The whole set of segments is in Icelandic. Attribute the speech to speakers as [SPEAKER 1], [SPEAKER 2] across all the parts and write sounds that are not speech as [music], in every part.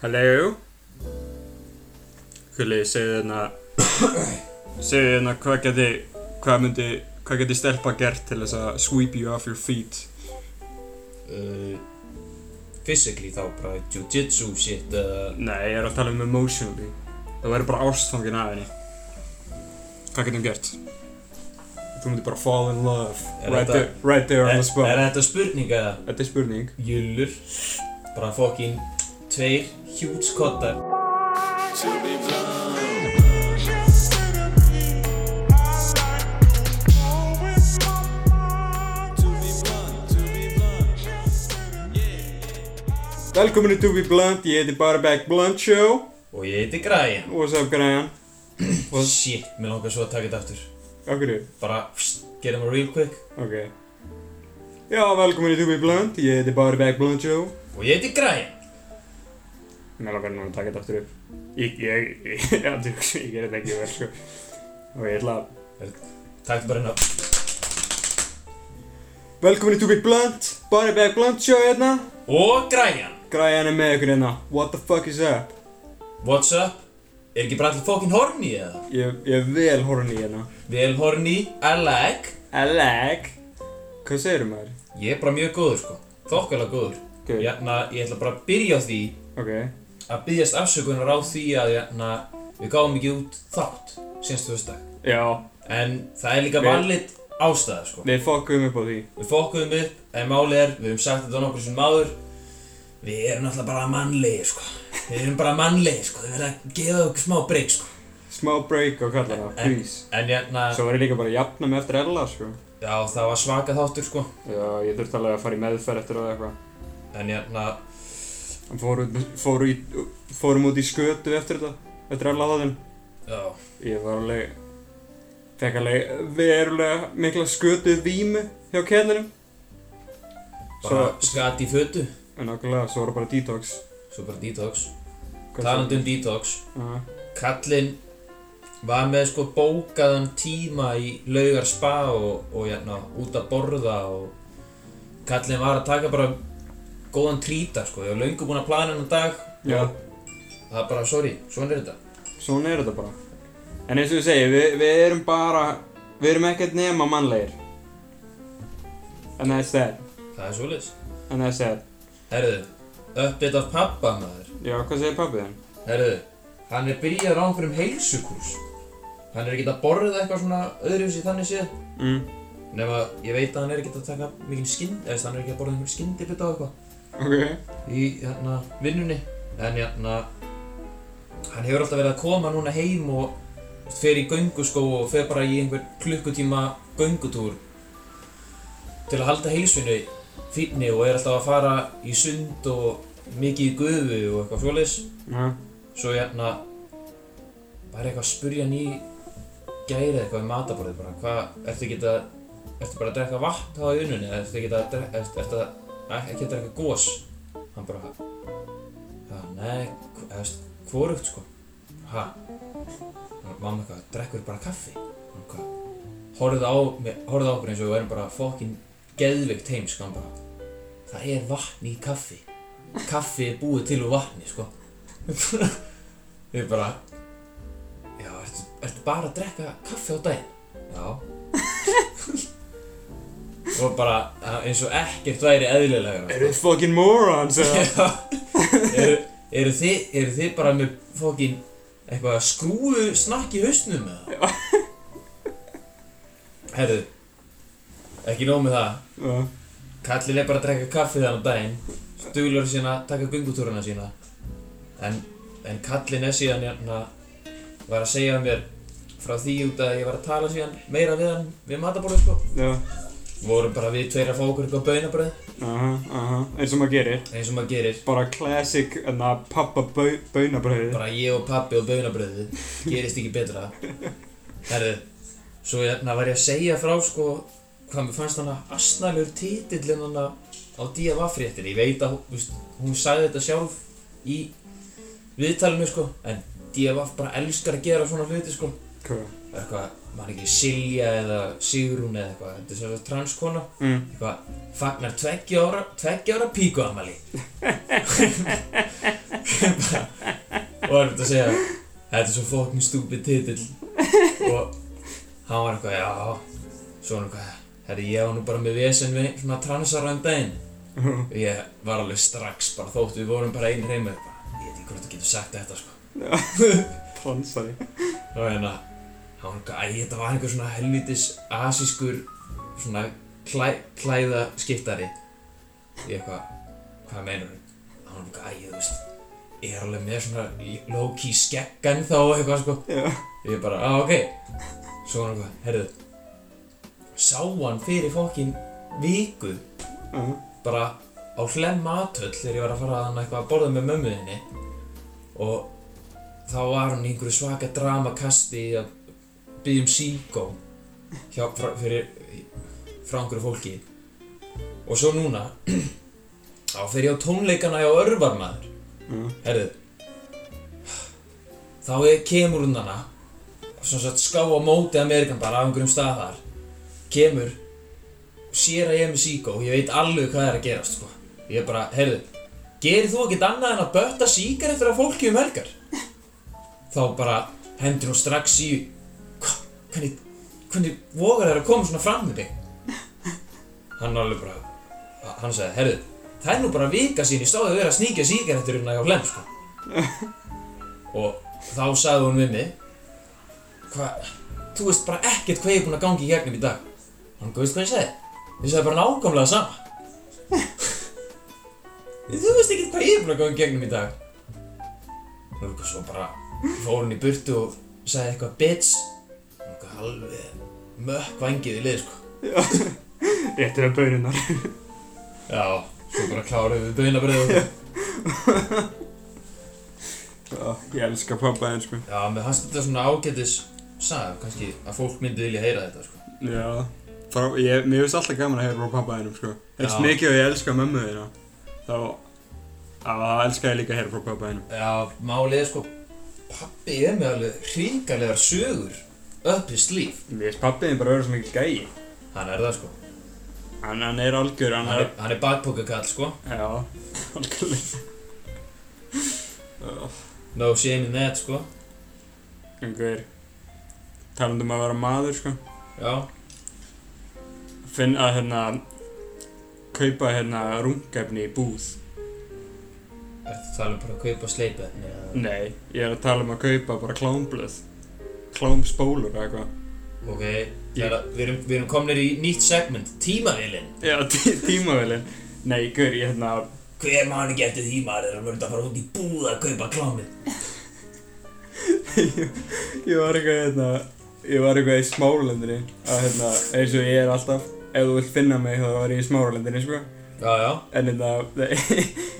[SPEAKER 1] Hello? Gulli, segðu hérna segðu hérna hvað geti hvað myndi, hvað geti stelpa gert til þess að sweep you off your feet
[SPEAKER 2] uh, physically þá bara jujitsu shit uh,
[SPEAKER 1] Nei, ég er að tala um emotionally Það væri bara ástfangin af henni Hvað getum gert? Þú myndi bara fall in love
[SPEAKER 2] Er
[SPEAKER 1] right,
[SPEAKER 2] þetta-
[SPEAKER 1] there, right there on
[SPEAKER 2] er,
[SPEAKER 1] the spot
[SPEAKER 2] er þetta spurning eða?
[SPEAKER 1] Þetta er spurning
[SPEAKER 2] Jullur bara fokkin tveir huge kottar
[SPEAKER 1] Velkomin í To Be Blunt, ég heiti Barback Blunt Show
[SPEAKER 2] og ég heiti Græjan
[SPEAKER 1] What's up, Graham? What?
[SPEAKER 2] shit, mér langar svo að taka þetta aftur
[SPEAKER 1] Akkur er?
[SPEAKER 2] bara pst, gerum það real quick
[SPEAKER 1] Ok Já, velkomin í To Be Blunt, ég heiti Barback Blunt Show
[SPEAKER 2] og ég heiti Græjan
[SPEAKER 1] Mér langar núna að taka þetta aftur upp Ég, ég, ég, [laughs] ég, ég, ég gerði þetta ekki vel sko Og ég ætla að
[SPEAKER 2] takk bara hérna
[SPEAKER 1] Velkomin í To Be Blunt, Barry Bag Blunt Show hérna
[SPEAKER 2] og Græjan
[SPEAKER 1] Græjan er með ykkur hérna, what the fuck is up?
[SPEAKER 2] what's up er ekki bara allir fokkin horny eða
[SPEAKER 1] Ég, ég er vel horfinn í hérna
[SPEAKER 2] vel horny I like
[SPEAKER 1] Alec Hvað segirðu maður?
[SPEAKER 2] ég er bara mjög góður sko þokkalega góður
[SPEAKER 1] Good.
[SPEAKER 2] jæna ég ætla bara að byrja á því
[SPEAKER 1] Ok
[SPEAKER 2] að byggjast afsökunar á því að jæna, við gáum ekki út þátt senstu fyrstdag
[SPEAKER 1] Já,
[SPEAKER 2] en það er líka
[SPEAKER 1] Við-
[SPEAKER 2] valið ástæða sko
[SPEAKER 1] við fokkum upp á því
[SPEAKER 2] við fokkuðum upp en málið er við höfum sagt þetta nokkur sem maður við erum náttúrulega bara mannlegir sko við erum bara mannlegir sko við verðum að gefa okkur smá breyk sko
[SPEAKER 1] Smá break og kalla það,
[SPEAKER 2] en,
[SPEAKER 1] please
[SPEAKER 2] en jæna,
[SPEAKER 1] Svo var ég líka bara að jafna mig eftir Ella sko
[SPEAKER 2] já það var svaka þáttur sko
[SPEAKER 1] Já, ég þurfti alveg að fara í meðferð eftir það eitthvað
[SPEAKER 2] en hérna, jæna,
[SPEAKER 1] Hann fór, út- fór, í, fórum út í skötu eftir þetta, eftir alla þáttinn
[SPEAKER 2] já
[SPEAKER 1] Ég var alveg, fekk alveg verulega mikla skötu vímu hjá kennarum
[SPEAKER 2] bara
[SPEAKER 1] Svo-
[SPEAKER 2] skat í fötu
[SPEAKER 1] En nákvæmlega, svo var það bara detox
[SPEAKER 2] svo bara detox talandi um detox
[SPEAKER 1] Já,
[SPEAKER 2] kallinn var með sko bókaðan tíma í laugar spa og, og jæna, út að borða og kallinn var að taka bara góðan trítar sko, ég var löngu búinn að plana hennan dag
[SPEAKER 1] já,
[SPEAKER 2] og það er bara, sorry, svona er þetta
[SPEAKER 1] svona er þetta bara En eins og ég segi, við, við erum bara, við erum ekkert nema mannlegir And that's that,
[SPEAKER 2] það er svoleiðis
[SPEAKER 1] and that's that
[SPEAKER 2] herðu, update af pappa maður
[SPEAKER 1] Já, hvað segir pappið þinn?
[SPEAKER 2] herðu, hann er byrjaður á einhverjum heilsukurs hann er ekkert að borða eitthvað svona öðruvísi þannig séð
[SPEAKER 1] Mm,
[SPEAKER 2] nema ég veit að hann er ekkert að taka mikinn skynd, eða þú veist, hann er ekkert að borða einhverjum skyndibita og eitthvað
[SPEAKER 1] ok
[SPEAKER 2] í hérna, vinnunni en hérna hann hefur alltaf verið að koma núna heim og þú veist, fer í gönguskó og fer bara í einhver klukkutíma göngutúr til að halda heilsunu fínni og er alltaf að fara í sund og mikið í gufu og eitthvað fjólis
[SPEAKER 1] Já,
[SPEAKER 2] svo hérna bara eitthvað að spurja hann í gæri eða eitthvað í mataborðið bara hvað, ertu ekki að ertu bara að drekka vatn þá í unnunni eða ertu ekki að drekka, ertu, ertu að ek- ekki að drekka gós hann bara já, nei, hv- eða veist, hvorugt sko ha Hann- mamma eitthvað, drekkur bara kaffi hann hvað, horfðu á mig- horfðu á okkur eins og við erum bara fokkin geðveikt heim sko, hann bara það er vatn í kaffi kaffi er búið til úr vatni sko [laughs] Ég bara Já, ertu, ertu bara að drekka kaffi á daginn? Já [laughs] Og bara eh, eins og ekkert væri eðlilegra
[SPEAKER 1] eru þið fucking morons eða?
[SPEAKER 2] [laughs] Já Eru, eru, þið, eru þið bara með fókin eitthvað skrúfu snakk í hausnum eða? Já Herðu Ekki nóg með það
[SPEAKER 1] Já,
[SPEAKER 2] Kallin er bara að drekka kaffi þann á daginn Stuglur síðan að taka göngutúruna sína En, en kallin er síðan hérna Var að segja mér frá því út að ég var að tala síðan meira við hann við mataborðið sko
[SPEAKER 1] já,
[SPEAKER 2] Vorum bara við tveir að fá okkur eitthvað baunabröð
[SPEAKER 1] aha, aha, eins og maður gerir
[SPEAKER 2] Eins og maður gerir
[SPEAKER 1] bara classic enna pappa bau, baunabröði
[SPEAKER 2] Bara ég og pabbi og baunabröðið Gerist ekki betra Herðu Svo hérna var ég að segja frá sko Hvað mér fannst hann að asnalur titillin hann á DFA-fréttir Ég veit að þú veist, hún sagði þetta sjálf í viðtalinu sko En DFA bara elskar að gera svona hluti sko
[SPEAKER 1] Hvað?
[SPEAKER 2] Eitthvað, maður ekki Silja eða Sigrún eða eitthvað Þetta er sem sagt transkona
[SPEAKER 1] Mm. [laughs]
[SPEAKER 2] Eitthvað, fagnar tveggja ára, tveggja ára píkuamali bara, og er þetta að segja þetta er svo fucking stupid titill og hann var eitthvað já svo var hann eitthvað herri ég var nú bara með vesen við svona transara um daginn og ég var alveg strax bara þótt við vorum bara einn heima bara, ég veit ekki hvort þú getur sagt þetta sko
[SPEAKER 1] Transari
[SPEAKER 2] og hérna hann var eitthvað æ þetta var einhver svona helvítis asískur svona klæ, klæða ég eitthvað hvað meinar hann var eitthvað æ þú veist ég er alveg með svona low-key skegg ennþá og eitthvað sko
[SPEAKER 1] Já
[SPEAKER 2] Ég er bara, ah, ok Svo var hann eitthvað, herðu Sá hann fyrir fokkin viku
[SPEAKER 1] Já.
[SPEAKER 2] Bara á hlemm matöll Þegar ég var að fara að hann eitthvað að borða með mömmu þinni Og þá var hann í einhverju svaka dramakasti Að biðja um síkó hjá, frá, Fyrir Frá einhverju fólki Og svo núna [clears throat] Þá fer ég á tónleikana hjá örvarmaður
[SPEAKER 1] Já.
[SPEAKER 2] Herðu Þá er kemur hún hana Svona sagt ská á móti Amerikan bara af einhverjum stað þar Kemur Sér að ég er með síkó og ég veit alveg hvað er að gerast sko. Ég er bara, herðu Gerir þú ekkert annað en að bötta síkar eftir að fólki um helgar? Þá bara hendur hún strax í "Hva- Hvernig, hvernig vogar þær að koma svona fram með þig? Hann alveg bara Hann sagði, herðu Það er nú bara vika sín, ég stáði að vera að sníkja síkaretur hérna hjá Hlem, sko. Og þá sagði hún við mig, hvað, þú veist bara ekkert hvað ég er búinn að gangi í gegnum í dag. Hann veist hvað ég segi? Ég sagði bara nákvæmlega sama. þú veist ekkert hvað ég er búinn að gangi í gegnum í dag. Og eitthvað svo bara fór hún í burtu og sagði eitthvað bitch. Og eitthvað alveg mökkvængið í lið, sko.
[SPEAKER 1] Já [laughs] Réttir að baurinnar
[SPEAKER 2] Já, svo bara kláruðum við beinabrið og...
[SPEAKER 1] Já, ég elska pappa eins sko
[SPEAKER 2] [laughs] Já, mér fannst þetta svona ágætis saga, kannski að fólk myndi vilja heyra þetta, sko.
[SPEAKER 1] Já Frá, ég, Mér finnst alltaf gaman að heyra frá pappa þínum sko Eins
[SPEAKER 2] Já.
[SPEAKER 1] mikið og ég elska mömmu þína Þá Já, þá elska ég líka að heyra frá pappa þínum
[SPEAKER 2] Já, málið er sko, pappi er með alveg hringalegar sögur upp í slíf.
[SPEAKER 1] Mér finnst pappi þín bara að vera svo mikið gæi
[SPEAKER 2] Hann er það, sko.
[SPEAKER 1] Hann, hann er algjör, hann
[SPEAKER 2] Hann
[SPEAKER 1] er
[SPEAKER 2] er, hann er bakpokakall, sko.
[SPEAKER 1] Já, [laughs] algjörlega Já,
[SPEAKER 2] No shame in that, sko.
[SPEAKER 1] einhver Talandi um að vera maður sko
[SPEAKER 2] Já,
[SPEAKER 1] Finn að hérna Kaupa hérna rungefni í búð
[SPEAKER 2] ertu að tala um bara að kaupa sleipefni eða...
[SPEAKER 1] Nei, ég er að tala um að kaupa bara klámblöð Klámspólur eða eitthvað
[SPEAKER 2] Ok, það er að, við erum, við erum komnir í nýtt segment, tímavilinn.
[SPEAKER 1] Já, tí tímavelin Nei, gaur, ég hérna [laughs]
[SPEAKER 2] Hver mann ekki eftir tímar er að verða að fara út í búð að kaupa klámið?
[SPEAKER 1] Ég var eitthvað hérna Ég var eitthvað í smáralendinni að hérna, eins og ég er alltaf ef þú vilt finna mig þá var ég í smáralendinni sko.
[SPEAKER 2] Já, já.
[SPEAKER 1] en hérna [laughs] nei,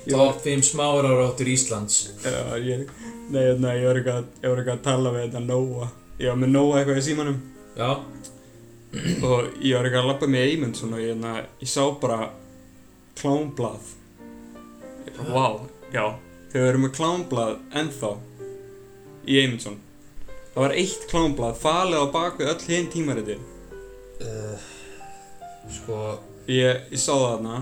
[SPEAKER 1] ég var,
[SPEAKER 2] Top 5 smáraráttur Íslands.
[SPEAKER 1] já, ég, nei, hérna, ég var eitthvað ég var eitthvað að tala við hérna Nóa ég var með Nóa eitthvað í símanum
[SPEAKER 2] Já,
[SPEAKER 1] og ég var eitthvað að lappa með Eymundsson og ég, hérna, ég sá bara klámblað ég bara, vá, já þau eru með klámblað ennþá í Eymundsson það var eitt klámblað falið á bakvið öll hinn tímaritir
[SPEAKER 2] Uh, sko,
[SPEAKER 1] ég, ég sá það þarna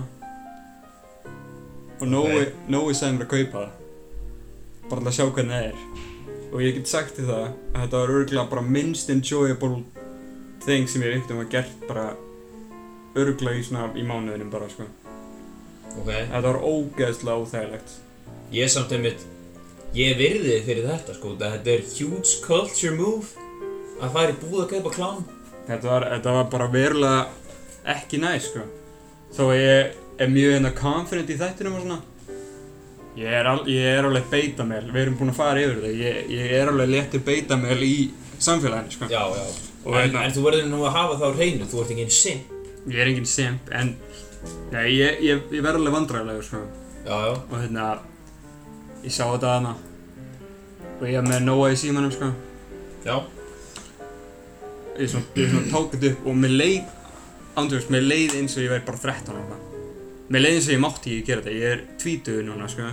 [SPEAKER 1] og Nói, Nói sagði mér að kaupa það bara til að sjá hvernig það er og ég get sagt til það að þetta var örgulega bara minnst enjoyable thing sem ég einhvern veginn var gert bara örgulega í svona í mánuðinum bara sko
[SPEAKER 2] ok
[SPEAKER 1] þetta var ógeðslega óþægilegt
[SPEAKER 2] Ég er samt einmitt Ég virði þig fyrir þetta sko það- Þetta er huge culture move Að fara í búð að kaupa klám
[SPEAKER 1] þetta var, þetta var bara verulega ekki næ sko þó að ég er mjög hérna confident í þættinum og svona ég er, al, ég er alveg beitamel við erum búin að fara yfir það ég, ég er alveg léttur beitamel í samfélaginu sko
[SPEAKER 2] Já, já
[SPEAKER 1] Og
[SPEAKER 2] En,
[SPEAKER 1] hérna-
[SPEAKER 2] en þú verður nú að hafa það á hreinu Þú ert ekki einu sinn
[SPEAKER 1] ég er enginn simp en nei, ég, ég, ég verð alveg vandræðilegur sko
[SPEAKER 2] Já, já
[SPEAKER 1] og hérna ég sá þetta aðna og ég er með Nóa í símanum sko
[SPEAKER 2] Já,
[SPEAKER 1] ég svona, ég svona tók þetta upp og mér leið andrjóðs, mér leið eins og ég væri bara 13 ára mér leið eins og ég mátti ekki gera þetta ég er tvítugur núna, sko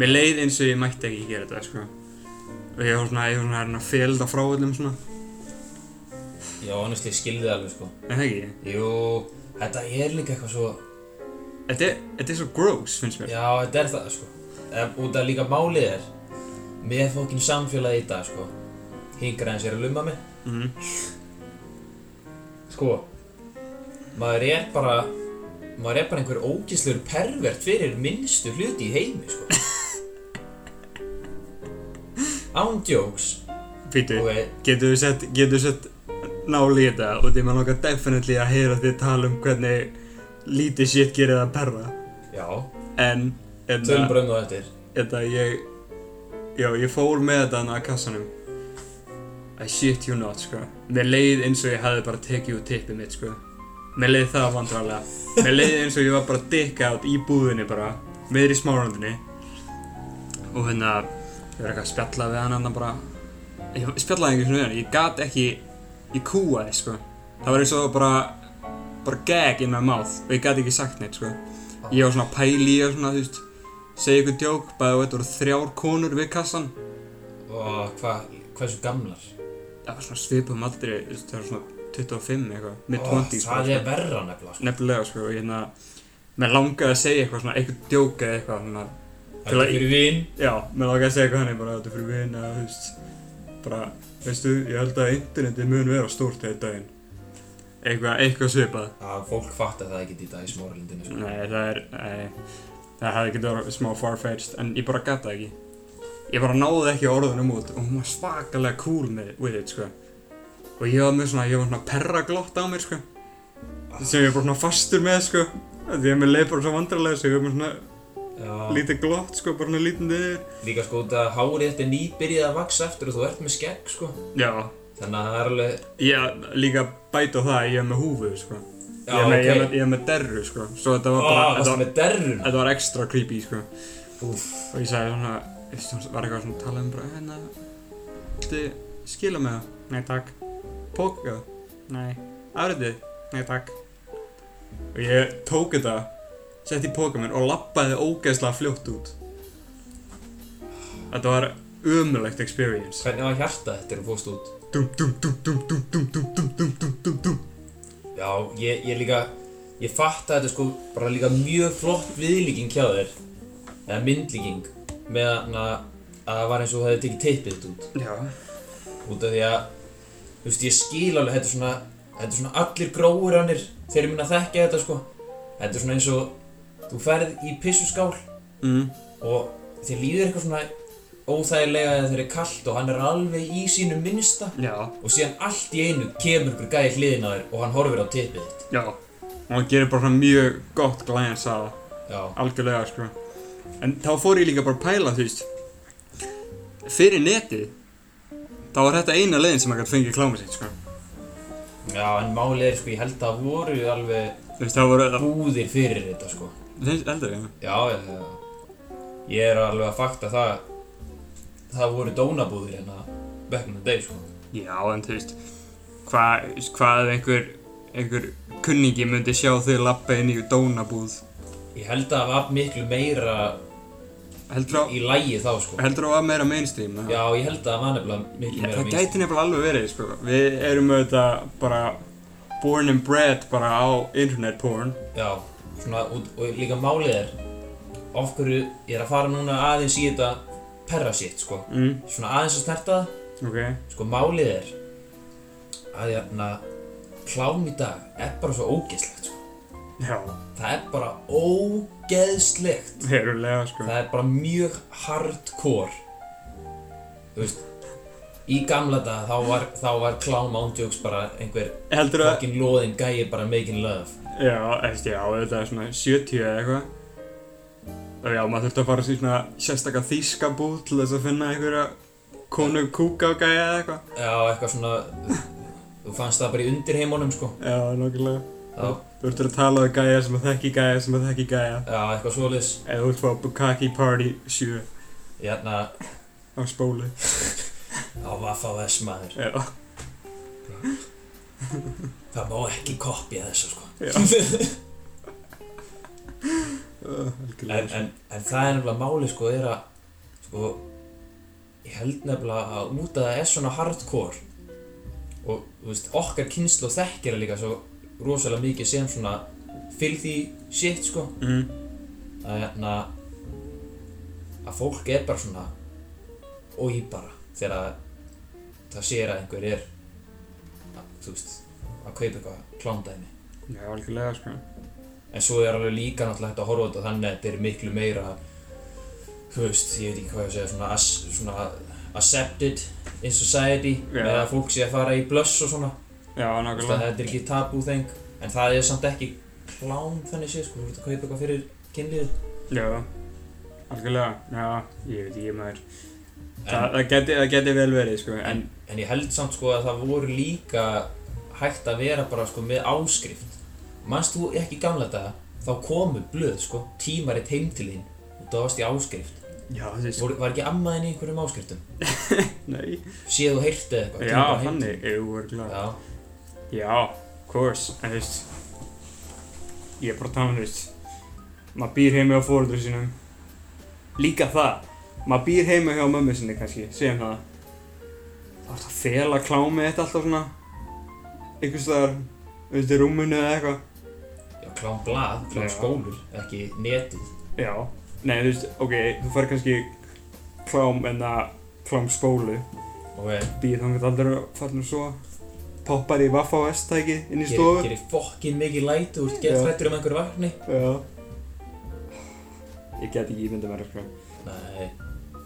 [SPEAKER 1] mér leið eins og ég mætti ekki gera þetta, sko og ég var svona, ég var svona hérna félda frá öllum svona,
[SPEAKER 2] já, honestly, ég skildi það alveg sko
[SPEAKER 1] en það ekki
[SPEAKER 2] Jú, þetta er líka eitthvað svo
[SPEAKER 1] þetta er, þetta er svo gross, finnst mér
[SPEAKER 2] Já, þetta er það sko Ef, út af líka málið er með fókin samfélagi í dag sko hingra eins er að lumma mig
[SPEAKER 1] Mm.
[SPEAKER 2] sko maður er bara maður er bara einhver ógislegur pervert fyrir minnstu hluti í heimi [laughs] sko ándjóks
[SPEAKER 1] Pítu,
[SPEAKER 2] ok
[SPEAKER 1] getur við sett, getur við sett náli í þetta og því maður langar definitely að heyra því tala um hvernig lítið shit gerir það perra.
[SPEAKER 2] já
[SPEAKER 1] En, hérna-
[SPEAKER 2] tölum
[SPEAKER 1] þetta,
[SPEAKER 2] bara um það eftir
[SPEAKER 1] þetta ég, já, ég fór með þetta hann að kassanum. I shit you not, sko. Mér leið eins og ég hefði bara tekið úr tippið mitt, sko. Mér leið það vandrarlega. Mér leið eins og ég var bara dick out í búðinni bara, meður í smárandinni. Og hérna, ég var eitthvað að spjalla við hann hann bara, ég spjallaði einhvers veginn við hann, ég gat ekki, ég kúaði, sko. Það var eins og bara, bara gag in my mouth og ég gat ekki sagt neitt, sko. Ég var svona að pæla í og svona, þú veist, segja ykkur djók, bæði og þetta voru þrjár konur við kassan.
[SPEAKER 2] og hvað hversu gamlar
[SPEAKER 1] Það var svona svipum aldrei, þú veist, það var svona 25 eitthvað, mid
[SPEAKER 2] Ó,
[SPEAKER 1] 20
[SPEAKER 2] það er verra nefnilega sko.
[SPEAKER 1] Nefnilega, sko, og ég hérna, mér langaði að segja eitthvað svona, eitthvað djók eða eitthvað, svona,
[SPEAKER 2] það er fyrir vin
[SPEAKER 1] já, mér langaði að segja eitthvað hannig, bara þetta er fyrir vin eða, þú veist, bara, veistu, ég held að internetið mun vera stórt þegar daginn. Eitthvað, eitthvað svipað.
[SPEAKER 2] að fólk fattar það ekki í dag í smóralindinu sko.
[SPEAKER 1] Nei, það er, nei, það hefði getið verið smá farfetched, en ég bara gata ekki. Ég bara náði ekki orðunum út og hún var svakalega cool með, with it, sko. Og ég var með svona, ég var svona perraglott á mér, sko.
[SPEAKER 2] Ah,
[SPEAKER 1] Sem ég er bara svona fastur með, sko. Af Því að mér leið bara svo vandrarlega, svo ég var með svona
[SPEAKER 2] Já.
[SPEAKER 1] lítið glott, sko, bara svona lítið niður.
[SPEAKER 2] líka sko út að hárið þetta er nýbyrjað að vaksa eftir og þú ert með skegg sko
[SPEAKER 1] Já,
[SPEAKER 2] þannig að það er alveg
[SPEAKER 1] ég líka bæta á það að ég er með húfu, sko.
[SPEAKER 2] Já,
[SPEAKER 1] ég er með, ég er
[SPEAKER 2] ok.
[SPEAKER 1] með, ég er með derru, sko. Svo þetta
[SPEAKER 2] Ó,
[SPEAKER 1] var bara,
[SPEAKER 2] varstu
[SPEAKER 1] þetta, var,
[SPEAKER 2] með derrun
[SPEAKER 1] þetta var extra creepy, sko.
[SPEAKER 2] Úff,
[SPEAKER 1] og ég sagði svona, ég veist, var eitthvað svona að tala um bara, hérna, viltu skila með það? Nei, takk. Póka? Nei. Afritið? Nei, takk. Og ég tók þetta, setti í póka minn og lappaði ógeðslega fljótt út. Þetta var ömulegt experience.
[SPEAKER 2] hvernig var hjarta þetta og fóst út
[SPEAKER 1] Dum, dum, dum, dum, dum, dum, dum, dum, dum, dum, dum, dum.
[SPEAKER 2] já, ég, ég líka ég fatta þetta sko bara líka mjög flott viðlíking hjá þér eða myndlíking með að að það var eins og þú hefði tekið teipið þetta út
[SPEAKER 1] Já.
[SPEAKER 2] út af því að þú veist, ég skil alveg, þetta er svona þetta er svona allir gróir hannir þeir eru minna að þekkja þetta sko þetta er svona eins og þú ferð í pissuskál
[SPEAKER 1] Mm.
[SPEAKER 2] og þér líður eitthvað svona óþægilega eða þeir eru kallt og hann er alveg í sínu minnsta
[SPEAKER 1] Já.
[SPEAKER 2] og síðan allt í einu kemur ykkur gæði hliðin á þér og hann horfir á tippið þitt
[SPEAKER 1] Já. Og hann gerir bara svona mjög gott glance á það.
[SPEAKER 2] já,
[SPEAKER 1] Algjörlega, sko. En þá fór ég líka bara að pæla, þú veist, fyrir netið, þá var þetta eina leiðin sem maður gæti fengið klámið sitt, sko.
[SPEAKER 2] já en málið er sko, ég held að voru alveg
[SPEAKER 1] Þú veist, það voru, það,
[SPEAKER 2] búðir fyrir þetta sko
[SPEAKER 1] það heldur ég,
[SPEAKER 2] já, já, já ég er alveg að fakta það það voru dónabúðir hérna back in the day sko
[SPEAKER 1] já. Já, en þú veist, hvað, þú veist, hvað ef einhver, einhver kunningi myndi sjá þig lappa inn í dónabúð?
[SPEAKER 2] ég held að það var miklu meira
[SPEAKER 1] Heldur á,
[SPEAKER 2] í lægi þá sko
[SPEAKER 1] heldur á að meira mainstream, eða?
[SPEAKER 2] já, ég held að það var nefnilega miklu
[SPEAKER 1] Já,
[SPEAKER 2] meira
[SPEAKER 1] það
[SPEAKER 2] mainstream.
[SPEAKER 1] gæti nefnilega alveg verið, sko. Við erum auðvitað bara born and bred bara á internet porn.
[SPEAKER 2] Já, svona, út, og líka málið er Af hverju ég er að fara núna aðeins í þetta perra sitt, sko
[SPEAKER 1] Mm,
[SPEAKER 2] Svona aðeins að snerta það,
[SPEAKER 1] ok.
[SPEAKER 2] sko málið er Að hérna, klám í dag er bara svo ógeðslegt, sko
[SPEAKER 1] Já,
[SPEAKER 2] Það er bara ógeðslegt
[SPEAKER 1] verulega, sko.
[SPEAKER 2] Það er bara mjög hardcore Þú veist Í gamla dag þá var, þá var klám ándjóks bara einhver
[SPEAKER 1] Heldur að,
[SPEAKER 2] fucking loðinn gæi bara making love
[SPEAKER 1] já, eftir, já, þetta er svona 70 eða eitthvað. Og já, maður þurfti að fara í svona sérstakka þýska búð til þess að finna einhverja konu kúka og gæja eða eitthvað.
[SPEAKER 2] Já, eitthvað svona Þú fannst það bara í undirheimunum sko
[SPEAKER 1] Já, nokkulega.
[SPEAKER 2] Já,
[SPEAKER 1] Þú ertur að tala um gæja sem að þekki gæja sem að þekki gæja.
[SPEAKER 2] já eitthvað svoleiðis
[SPEAKER 1] Eða þú ert frá Bukaki Party 7
[SPEAKER 2] Hérna,
[SPEAKER 1] á spóli.
[SPEAKER 2] á Vaffa S maður
[SPEAKER 1] Já,
[SPEAKER 2] Það má ekki kopja þessu sko [laughs]
[SPEAKER 1] já. Uh, algjörlega,
[SPEAKER 2] en, en, en það er nefnilega máli sko er að Sko Ég held nefnilega að út að það er svona hardcore Og þú veist, okkar kynslu og þekkir það líka svo rosalega mikið sem svona Fylg því shit
[SPEAKER 1] sko.
[SPEAKER 2] sko
[SPEAKER 1] Mm,
[SPEAKER 2] að hérna að fólk er bara svona og í bara þegar að það sér að einhver er að, þú veist, að kaupa eitthvað klándæmi
[SPEAKER 1] Já, algjörlega, sko.
[SPEAKER 2] en svo er alveg líka náttúrulega hægt að horfa á þetta þannig að þetta er miklu meira þú veist, ég veit ekki hvað ég á að segja svona, as, svona accepted in society
[SPEAKER 1] Já.
[SPEAKER 2] með að fólk sé að fara í blöss og svona
[SPEAKER 1] Já,
[SPEAKER 2] Þú veist að
[SPEAKER 1] nákvæmlega.
[SPEAKER 2] þetta er ekki tabú þeng en það er samt ekki klám þannig sé sko, þú ert að kaupa eitthvað fyrir kynlíð
[SPEAKER 1] Já, algjörlega. Já, ég veit ekki maður. Það,
[SPEAKER 2] en,
[SPEAKER 1] það, geti, það geti vel verið, sko, en
[SPEAKER 2] en ég held samt sko að það voru líka hægt að vera bara sko með áskrift manst þú ekki í gamla daga þá komu blöð sko, tímarit heim til þín og það varst í áskrift
[SPEAKER 1] Já, þú veist,
[SPEAKER 2] Voru, var ekki ammaðin í einhverjum áskriftum
[SPEAKER 1] nei.
[SPEAKER 2] séð og heyrtið eitthvað
[SPEAKER 1] Já,
[SPEAKER 2] kemur bara heim til
[SPEAKER 1] þannig,
[SPEAKER 2] þín.
[SPEAKER 1] jú, örgulega.
[SPEAKER 2] já,
[SPEAKER 1] Já, of course, en þú veist, ég er bara að tala um, þú veist, maður býr heima hjá fóröldur sínum. Líka það, maður býr heima hjá mömmu sinni kannski, segjum það. Það er að fela klámið þetta alltaf svona, einhvers staðar, þú veist, í rúminu eða eitthvað.
[SPEAKER 2] já klám blað, klám
[SPEAKER 1] Já.
[SPEAKER 2] skólur ekki netið
[SPEAKER 1] Já, nei, þú veist, ok, þú fær kannski klám en það klám spólu,
[SPEAKER 2] og eh,
[SPEAKER 1] býð þannig aldrei að falla svo, poppar í vaffa og estæki inn í
[SPEAKER 2] gerir,
[SPEAKER 1] stofu.
[SPEAKER 2] gerir fokkin mikið læti úr gett
[SPEAKER 1] Já.
[SPEAKER 2] hrættur um einhver vakni
[SPEAKER 1] Já. Ég get ekki ímyndað mér, sko.
[SPEAKER 2] Nei,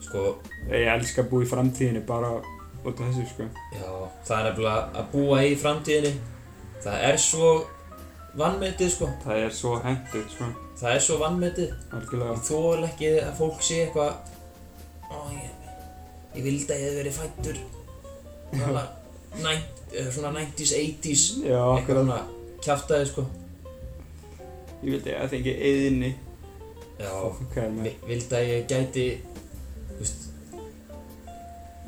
[SPEAKER 2] sko,
[SPEAKER 1] Ég elska að búa í framtíðinni bara út af þessu, sko.
[SPEAKER 2] já, það er nefnilega að búa í framtíðinni. Það er svo vannmetið, sko.
[SPEAKER 1] Það er svo hendur, sko,
[SPEAKER 2] Það er svo vannmetið.
[SPEAKER 1] algjörlega.
[SPEAKER 2] Ég þól ekki að fólk sé eitthvað, ó, ég, ég vildi að ég hefði verið fættur. Svona,
[SPEAKER 1] [laughs]
[SPEAKER 2] nænt, eh, svona 90s, 80s,
[SPEAKER 1] Já,
[SPEAKER 2] eitthvað
[SPEAKER 1] akkurat.
[SPEAKER 2] svona kjaftaði, sko.
[SPEAKER 1] Ég vildi að þengi eðinni.
[SPEAKER 2] Já,
[SPEAKER 1] Hvað er maður?
[SPEAKER 2] vi- vildi að ég gæti, þú veist,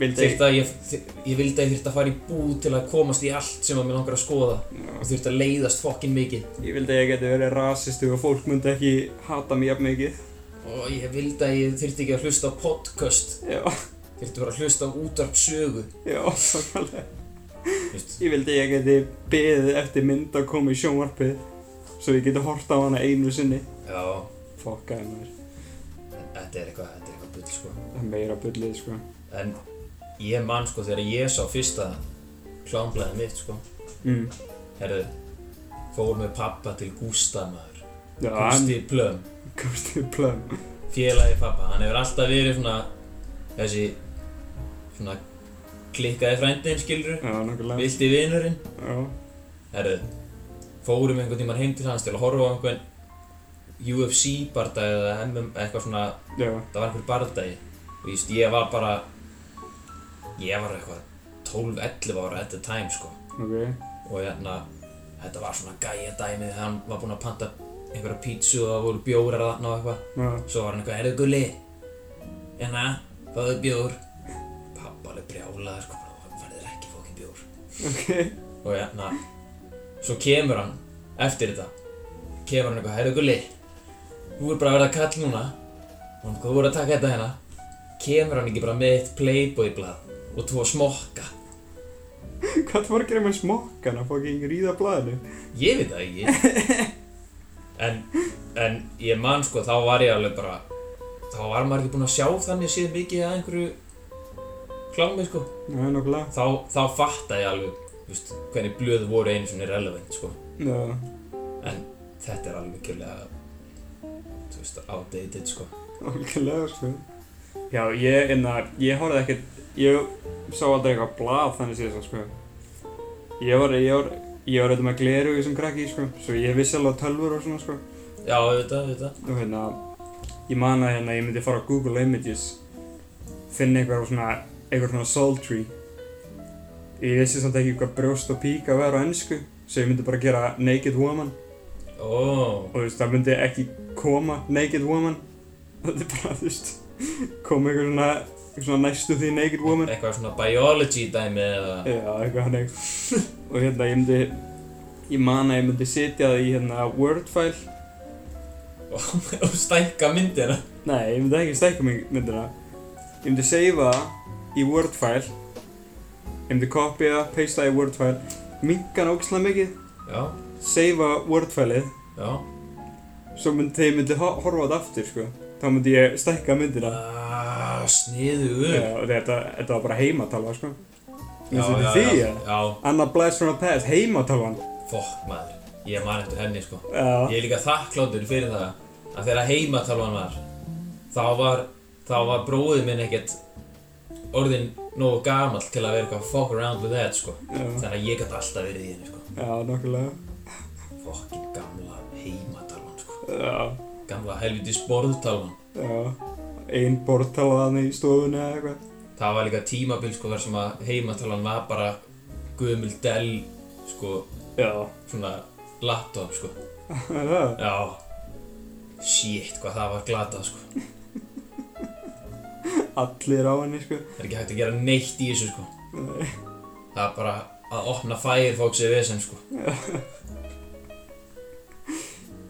[SPEAKER 1] Vildi
[SPEAKER 2] þyrfti að ég, þyr- ég vildi að ég þyrfti að fara í búð til að komast í allt sem að mér langar að skoða og
[SPEAKER 1] Já,
[SPEAKER 2] þyrfti að leiðast fokkin mikið.
[SPEAKER 1] Ég vildi að ég geti verið rasistu og fólk myndi ekki hata mér jafn mikið.
[SPEAKER 2] og ég vildi að ég þyrfti ekki að hlusta á podcast
[SPEAKER 1] Já,
[SPEAKER 2] þyrfti bara að hlusta á útvarpsögu
[SPEAKER 1] já, [laughs] svakalega.
[SPEAKER 2] veist.
[SPEAKER 1] Ég vildi ég geti beðið eftir mynd að koma í sjónvarpið svo ég geti horta á hana einu sinni.
[SPEAKER 2] já,
[SPEAKER 1] Fokkaði maður.
[SPEAKER 2] þetta er eitthvað, þetta er eitthvað bull sko
[SPEAKER 1] Það er meira bullið, sko.
[SPEAKER 2] en ég man sko þegar ég sá fyrsta klámblæði mitt sko
[SPEAKER 1] Mm.
[SPEAKER 2] herðu, fór með pappa til Gústa maður
[SPEAKER 1] Já, hann
[SPEAKER 2] Gústi Plöm,
[SPEAKER 1] komst í plömm.
[SPEAKER 2] félagi pappa hann hefur alltaf verið svona þessi svona klikkaði frændin skilur
[SPEAKER 1] Já, nokkulega.
[SPEAKER 2] vildi vinurinn
[SPEAKER 1] Já,
[SPEAKER 2] Herru, fórum einhvern tímann heim til hans til að horfa á einhvern UFC bardagi eða MM eitthvað svona,
[SPEAKER 1] já,
[SPEAKER 2] það var einhver bardagi og ég, veist, ég var bara ég var eitthvað 12-11 ára at the time sko
[SPEAKER 1] ok.
[SPEAKER 2] og hérna, þetta var svona gæja dæmið, hann var búinn að panta einhverja pítsu og það voru bjórar þarna og eitthvað
[SPEAKER 1] Já, [laughs]
[SPEAKER 2] svo var hann eitthvað, heyrðu gulli hérna, fáðu bjór pappa alveg brjálaði sko, bara, verður ekki fókin bjór
[SPEAKER 1] ok.
[SPEAKER 2] og hérna svo kemur hann eftir þetta kemur hann eitthvað, heyrðu gulli þú er bara að verða kall núna og hann hvað voru að taka þetta hérna kemur hann ekki bara með eitt playboy blað og tvo smokka
[SPEAKER 1] Hvað var að gera með smokkan að fokking ríða blaðinu?
[SPEAKER 2] ég veit það ekki
[SPEAKER 1] [laughs]
[SPEAKER 2] en, en ég man sko þá var ég alveg bara þá var maður ekki búinn að sjá þannig séð mikið að einhverju klámi sko
[SPEAKER 1] Já, nokkulega.
[SPEAKER 2] þá, þá fattaði ég alveg þú veist, hvernig blöð voru einu svona relevant sko
[SPEAKER 1] Já,
[SPEAKER 2] en þetta er alveg kjörlega þú veist, outdated sko
[SPEAKER 1] nokkulega, sko. Já, ég, enna, ég horfði ekkert, ég sá aldrei eitthvað blað þannig síðan, sko. Ég var, ég var, ég var auðvitað með gleru sem krakki, sko. Svo ég vissi alveg á tölvur og svona, sko.
[SPEAKER 2] já, auðvitað, auðvitað
[SPEAKER 1] og hérna ég man að hérna ég myndi fara á Google Images finna einhver svona einhver svona sultry ég vissi samt ekki hvað brjóst og píka verður á ennsku svo ég myndi bara gera naked woman
[SPEAKER 2] ó,
[SPEAKER 1] og þú veist það myndi ekki koma naked woman [laughs] þetta er bara þú veist koma einhver svona einhver svona næstu því naked woman
[SPEAKER 2] eitthvað svona biology dæmi eða [laughs]
[SPEAKER 1] já eitthvað hann eitthvað [laughs] og hérna ég myndi ég man að ég myndi setja það í hérna word file
[SPEAKER 2] og stækka myndina
[SPEAKER 1] Nei, ég myndi ekki stækka mig myndina Ég myndi seifa það í Word file Ég myndi copya það, paste það í Word file Minka hann ógislega mikið
[SPEAKER 2] já,
[SPEAKER 1] Seifa Word fileið
[SPEAKER 2] já
[SPEAKER 1] Svo myndi þegar ég myndi ho- horfa á þetta aftur sko Þá myndi ég stækka myndina
[SPEAKER 2] ah, Já, sniðugur.
[SPEAKER 1] Já, þetta, þetta var bara heimatala, sko.
[SPEAKER 2] Já,
[SPEAKER 1] Þú
[SPEAKER 2] já,
[SPEAKER 1] veist því,
[SPEAKER 2] já.
[SPEAKER 1] já.
[SPEAKER 2] Já,
[SPEAKER 1] Anna Blast from the Past, heimatalan.
[SPEAKER 2] fokk maður. Ég man eftir henni, sko.
[SPEAKER 1] Já,
[SPEAKER 2] Ég er líka þakkláttur fyrir það að þegar heimatalvan var, þá var, þá var bróðið minn ekkert orðinn nógu gamall til að vera eitthvað fuck around with that, sko.
[SPEAKER 1] já,
[SPEAKER 2] Þannig að ég gæti alltaf verið í henni, sko.
[SPEAKER 1] já, nokkulega.
[SPEAKER 2] Fokkin gamla heimatalvan, sko.
[SPEAKER 1] Já,
[SPEAKER 2] Gamla helviti sporðtalvan.
[SPEAKER 1] já. Einn borðtala þannig í stofunni eða eitthvað.
[SPEAKER 2] Það var líka tímabil, sko, þar sem að heimatalvan var bara gömul del, sko,
[SPEAKER 1] Já. [laughs]
[SPEAKER 2] svona laptop, sko.
[SPEAKER 1] Er það?
[SPEAKER 2] Já. Shit, hvað það var glatað, sko.
[SPEAKER 1] Allir á henni, sko.
[SPEAKER 2] Það er ekki hægt að gera neitt í þessu, sko.
[SPEAKER 1] Nei.
[SPEAKER 2] Það er bara að opna Firefox eða vesen sko.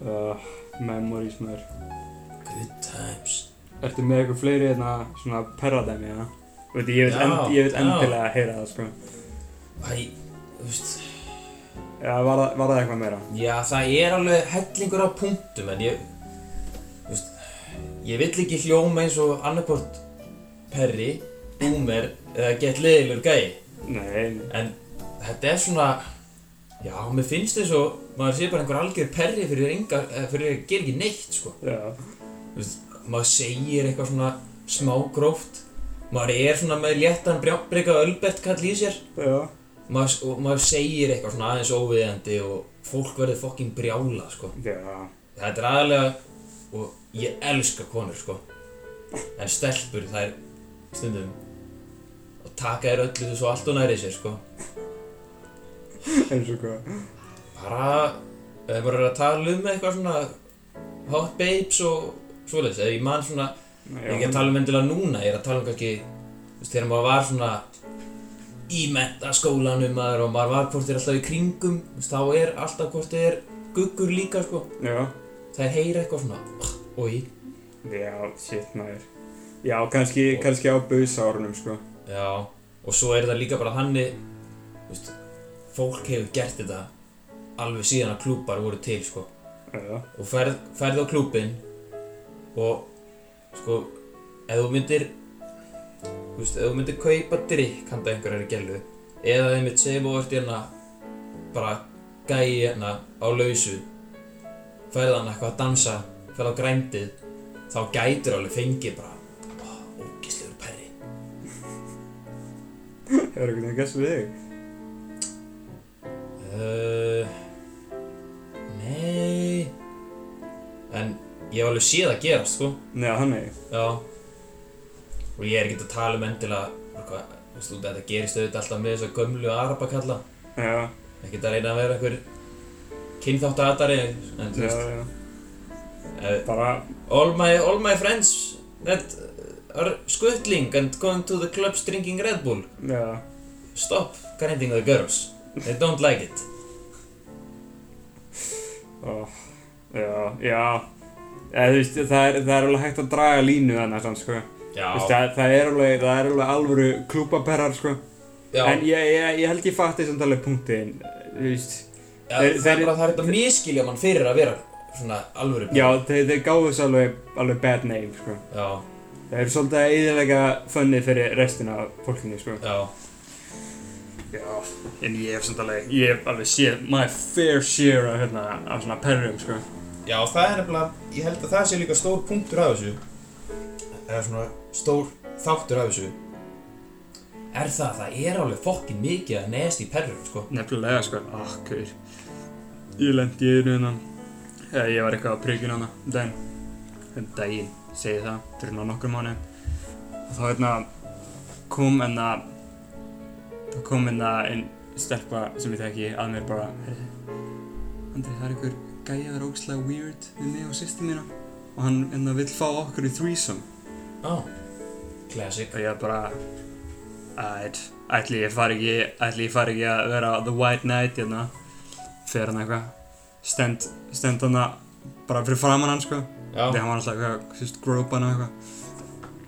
[SPEAKER 1] Uh, memories maður.
[SPEAKER 2] Good times.
[SPEAKER 1] Ertu með eitthvað fleiri hérna svona perradæmi, já? Veit, ég vil,
[SPEAKER 2] Já,
[SPEAKER 1] end, ég vil
[SPEAKER 2] já.
[SPEAKER 1] endilega heyra það, sko.
[SPEAKER 2] Æ, þú veist,
[SPEAKER 1] Já, var, það- var það eitthvað meira?
[SPEAKER 2] já það er alveg hellingur á punktum en ég, þú veist, ég vill ekki hljóma eins og annarkvort Perry, Boomer eða Get Leðilur gæi.
[SPEAKER 1] Nei, nei.
[SPEAKER 2] En þetta er svona, já, mér finnst þess og maður sé bara einhver algjör Perry fyrir engar, eh, fyrir að gera ekki neitt sko.
[SPEAKER 1] Já,
[SPEAKER 2] Þú veist, maður segir eitthvað svona smá gróft, maður er svona með léttan brjábreyka ölbett kall í sér.
[SPEAKER 1] já.
[SPEAKER 2] maður, og maður segir eitthvað svona aðeins óviðjandi og fólk verður fokkin brjála sko.
[SPEAKER 1] Já,
[SPEAKER 2] þetta er aðalega og ég elska konur sko. en stelpur þær stundum og taka þér öllu þessu allt og næri sér sko.
[SPEAKER 1] eins og hvað.
[SPEAKER 2] bara ef þær bara eru að tala um eitthvað svona hot babes og svoleiðis eða ég man svona, ég er ekki að tala um endilega núna ég er að tala um kannski þú veist, þegar maður var svona í mentaskólanum maður og maður var hvort þér alltaf í kringum þú veist, þá er alltaf hvort þér guggur líka sko
[SPEAKER 1] Já,
[SPEAKER 2] þær heyra eitthvað svona oi
[SPEAKER 1] já, shit maður. Já, kannski, kannski á buðsárunum, sko.
[SPEAKER 2] já og svo er það líka bara þannig þú veist, fólk hefur gert þetta alveg síðan að klúpar voru til sko
[SPEAKER 1] Já,
[SPEAKER 2] og ferð, ferð á klúpin og sko ef þú myndir þú veist, ef þú myndir kaupa drikk handa einhverjar í gælu eða þeim mitt segjum og ert hérna bara gæi hérna á lausu ferð hann eitthvað að dansa ferð á grændið þá gætur alveg fengið bara "Ó, ógislegur perri
[SPEAKER 1] hefur einhvern veginn gæst við þig?
[SPEAKER 2] Uh, nei en ég hef alveg séð að gerast sko
[SPEAKER 1] Nei, hann er.
[SPEAKER 2] Já Og ég er ekkert að tala um endilega eitthvað, þú veist, út að þetta gerist auðvitað alltaf með þess að gömlu arabakalla
[SPEAKER 1] Já,
[SPEAKER 2] ekkert að reyna að vera einhver kynþáttaðatari en þú
[SPEAKER 1] já,
[SPEAKER 2] veist
[SPEAKER 1] já.
[SPEAKER 2] eh,
[SPEAKER 1] Bara,
[SPEAKER 2] all, my, all my friends that are squirtling and going to the clubs drinking Red Bull
[SPEAKER 1] já,
[SPEAKER 2] stop grinding the girls they don't like it
[SPEAKER 1] ó, já, já. Eða, þú veist, það er, það er alveg hægt að draga línu þannig, samt, sko.
[SPEAKER 2] Já,
[SPEAKER 1] Þú veist, það, það er alveg, það er alveg alvöru klúpaperrar, sko.
[SPEAKER 2] já,
[SPEAKER 1] En ég, ég, ég held ég fatti samt alveg punktin, þú veist.
[SPEAKER 2] já
[SPEAKER 1] þeir-
[SPEAKER 2] það er
[SPEAKER 1] þeir-
[SPEAKER 2] bara það er þetta miskilja mann fyrir að vera svona alvöru
[SPEAKER 1] Já, þeir, þeir gáðu þessu alveg, alveg bad name, sko.
[SPEAKER 2] já,
[SPEAKER 1] Það er svolítið að eðilega fönnið fyrir restina af fólkinni, sko.
[SPEAKER 2] já,
[SPEAKER 1] Já, en ég hef samt alveg, ég hef alveg séð my fair share af, hérna, af svona perrum, sko.
[SPEAKER 2] Já, það er nefnilega, ég held að það sé líka stór punktur af þessu eða svona stór þáttur af þessu Er það, það er alveg fokkin mikið að neðast í perrum, sko
[SPEAKER 1] Nefnilega, sko. Akkur. Ég lendi í einu hérna. Eða ég var eitthvað á prikinu hana, um daginn. Um daginn, segi það, fyrir ná nokkur mánu. Og þá hérna kom hérna, þá kom hérna einn stelpa sem ég þekki að mér bara, heyrðu, Andri, það er einhver gæjaður ógslag weird við mig og sýstu mína og hann hérna vill fá okkur í threesome.
[SPEAKER 2] Á, classic
[SPEAKER 1] og ég bara æt, ætli ég fari ekki ætli ég fari ekki að vera the white knight hérna fyrir hann eitthvað stend, stend hann bara fyrir framan hann sko þegar
[SPEAKER 2] Já,
[SPEAKER 1] hann var alltaf eitthvað sérst grópa hann og eitthvað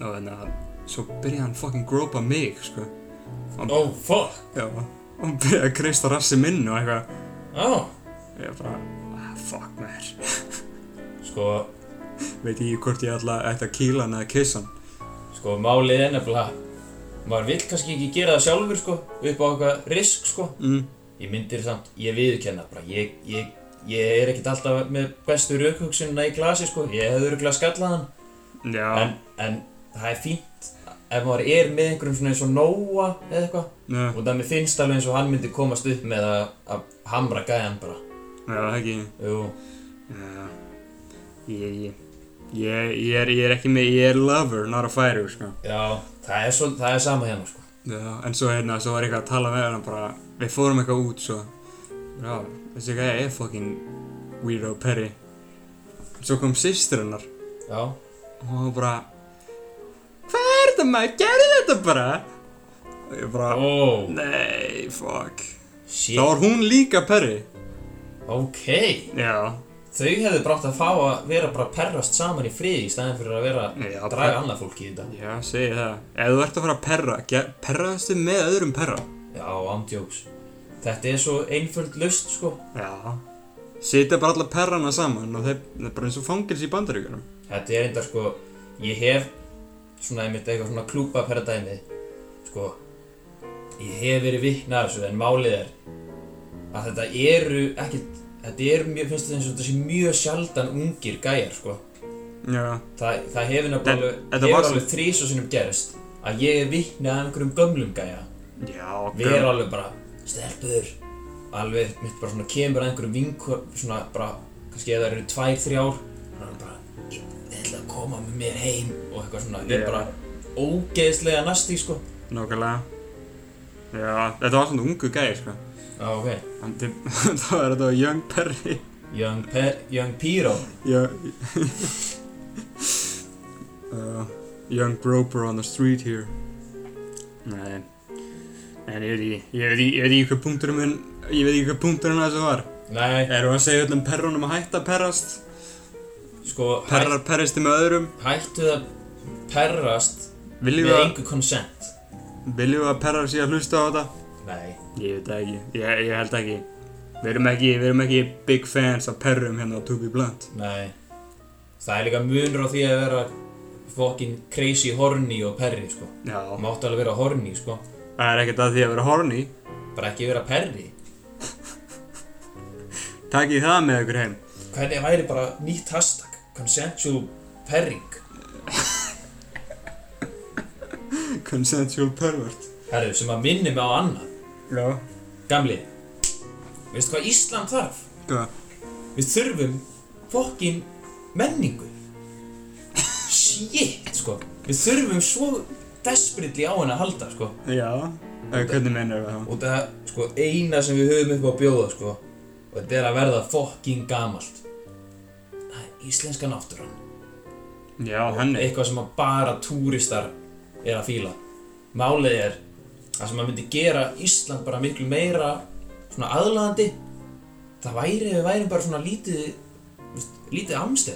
[SPEAKER 1] og þannig að svo byrjaði hann fucking grópa mig sko
[SPEAKER 2] ó, fokk,
[SPEAKER 1] já og hann byrjaði að kreista rassi minn og eitthvað
[SPEAKER 2] á
[SPEAKER 1] ég bara ah, fuck mér
[SPEAKER 2] Sko,
[SPEAKER 1] veit ég hvort ég alltaf ætti að kýla hann eða kissa hann
[SPEAKER 2] Sko, málið er nefnilega Maður vill kannski ekki gera það sjálfur, sko Upp á eitthvað risk, sko
[SPEAKER 1] Mm.
[SPEAKER 2] Ég myndir samt, ég viðurkenna bara Ég, ég, ég er ekkert alltaf með bestu raukhugsunina í glasi, sko Ég hefði örgulega skallað hann en,
[SPEAKER 1] Já.
[SPEAKER 2] en það er fínt Ef maður er með einhverjum svona eins og Nóa eða eitthvað
[SPEAKER 1] Já,
[SPEAKER 2] Og það mér finnst alveg eins og hann myndi komast upp með að, að hamra gæjan bara
[SPEAKER 1] já, ekki.
[SPEAKER 2] Jú,
[SPEAKER 1] Já. Ég, ég, ég, ég er, ég er ekki með, ég er lover, not a fighter, sko.
[SPEAKER 2] já, það er, svo, það er sama hérna, sko
[SPEAKER 1] Já, en svo hérna, svo var ég eitthvað að tala með hana bara, við fórum eitthvað út, svo. Já, þessi gæja er fucking weirdo Perry. Svo kom systir hennar
[SPEAKER 2] Já,
[SPEAKER 1] og hún var bara, hvað er þetta maður, gerðu þetta bara? Og ég bara,
[SPEAKER 2] ó,
[SPEAKER 1] nei, fuck. Þá
[SPEAKER 2] shit,
[SPEAKER 1] var hún líka Perry.
[SPEAKER 2] ok
[SPEAKER 1] Já,
[SPEAKER 2] Þau hefðu brátt að fá að vera bara að perrast saman í friði í staðin fyrir að vera að
[SPEAKER 1] já,
[SPEAKER 2] draga annað fólk í þetta.
[SPEAKER 1] Já, segi það. Ef þú ert að fara að perra, ger- perraðastu með öðrum perra.
[SPEAKER 2] Já, ándjóks. Þetta er svo einföld lust, sko.
[SPEAKER 1] Já. Sitja bara alla perrana saman og þeir, það er bara eins og fangils í bandaríkjunum.
[SPEAKER 2] Þetta er enda, sko, ég hef svona einmitt eitthvað svona klúpa perra dæmi, sko. Ég hef verið vikna af þessu, en málið er að þetta eru ekkert, þetta eru mjög, finnst þetta eins og þetta sé mjög sjaldan ungir gæjar, sko.
[SPEAKER 1] Já.
[SPEAKER 2] Þa, það hefur
[SPEAKER 1] Þetta-
[SPEAKER 2] nefnilega
[SPEAKER 1] þetta
[SPEAKER 2] alveg,
[SPEAKER 1] var
[SPEAKER 2] hefur
[SPEAKER 1] svo-
[SPEAKER 2] alveg þrís og sinnum gerist að ég er vikna af einhverjum gömlum gæja.
[SPEAKER 1] Já,
[SPEAKER 2] Við erum alveg bara, stelpur, alveg, mitt bara svona kemur að einhverjum vinkur, svona bara, kannski ef það eru tvær, þrjár, hann er bara, ég þið ætla að koma með mér heim og eitthvað svona, ég
[SPEAKER 1] Já.
[SPEAKER 2] er bara ógeðslega nasti, sko.
[SPEAKER 1] Nákvæmlega. Já, þetta var svona ungu gæði, sko.
[SPEAKER 2] Já, ok.
[SPEAKER 1] Hann til, [laughs] þá er þetta young perri.
[SPEAKER 2] Young, pe young Piro.
[SPEAKER 1] Já. [laughs] uh, young broper on the street here. Nei. En ég veit ekki, ég veit ekki, ég veit ekki hvað punkturinn minn, ég veit ekki hvað punkturinn að þessu var.
[SPEAKER 2] Nei,
[SPEAKER 1] Erum við að segja öllum perrunum að hætta að perrast?
[SPEAKER 2] sko, hæ,
[SPEAKER 1] Perrar perristi með öðrum?
[SPEAKER 2] hættu það perrast
[SPEAKER 1] Viljum
[SPEAKER 2] með
[SPEAKER 1] við að,
[SPEAKER 2] engu consent.
[SPEAKER 1] viljum við að perrar sé að hlusta á þetta?
[SPEAKER 2] Nei.
[SPEAKER 1] Ég veit það ekki, ég, ég held ekki. Við erum ekki, við erum ekki big fans af perrum hérna á To Be Blunt.
[SPEAKER 2] Nei. Það er líka munur á því að vera fokkin crazy horny og perri, sko.
[SPEAKER 1] Já.
[SPEAKER 2] Máttu alveg vera horny, sko.
[SPEAKER 1] Það er ekkert að því að vera horny.
[SPEAKER 2] bara ekki vera perri
[SPEAKER 1] Takið það með ykkur heim. [laughs]
[SPEAKER 2] hvernig væri bara nýtt hashtag consensual perring
[SPEAKER 1] Consensual pervert.
[SPEAKER 2] herru sem að minni mig á annað
[SPEAKER 1] Já.
[SPEAKER 2] gamli veistu hvað Ísland þarf
[SPEAKER 1] Hvað?
[SPEAKER 2] við þurfum fokkin menningu shit sko við þurfum svo desperately á henni að halda sko
[SPEAKER 1] Já. Eh, Hvernig mennir við það?
[SPEAKER 2] og það sko eina sem við höfum upp á að bjóða sko og þetta er að verða fokkin gamalt það er íslenska náttúran
[SPEAKER 1] Já, henni.
[SPEAKER 2] eitthvað sem að bara túristar er að fíla málið er að sem að myndi gera Ísland bara miklu meira svona aðlaðandi það væri, við værum bara svona lítið þú veist, lítið amst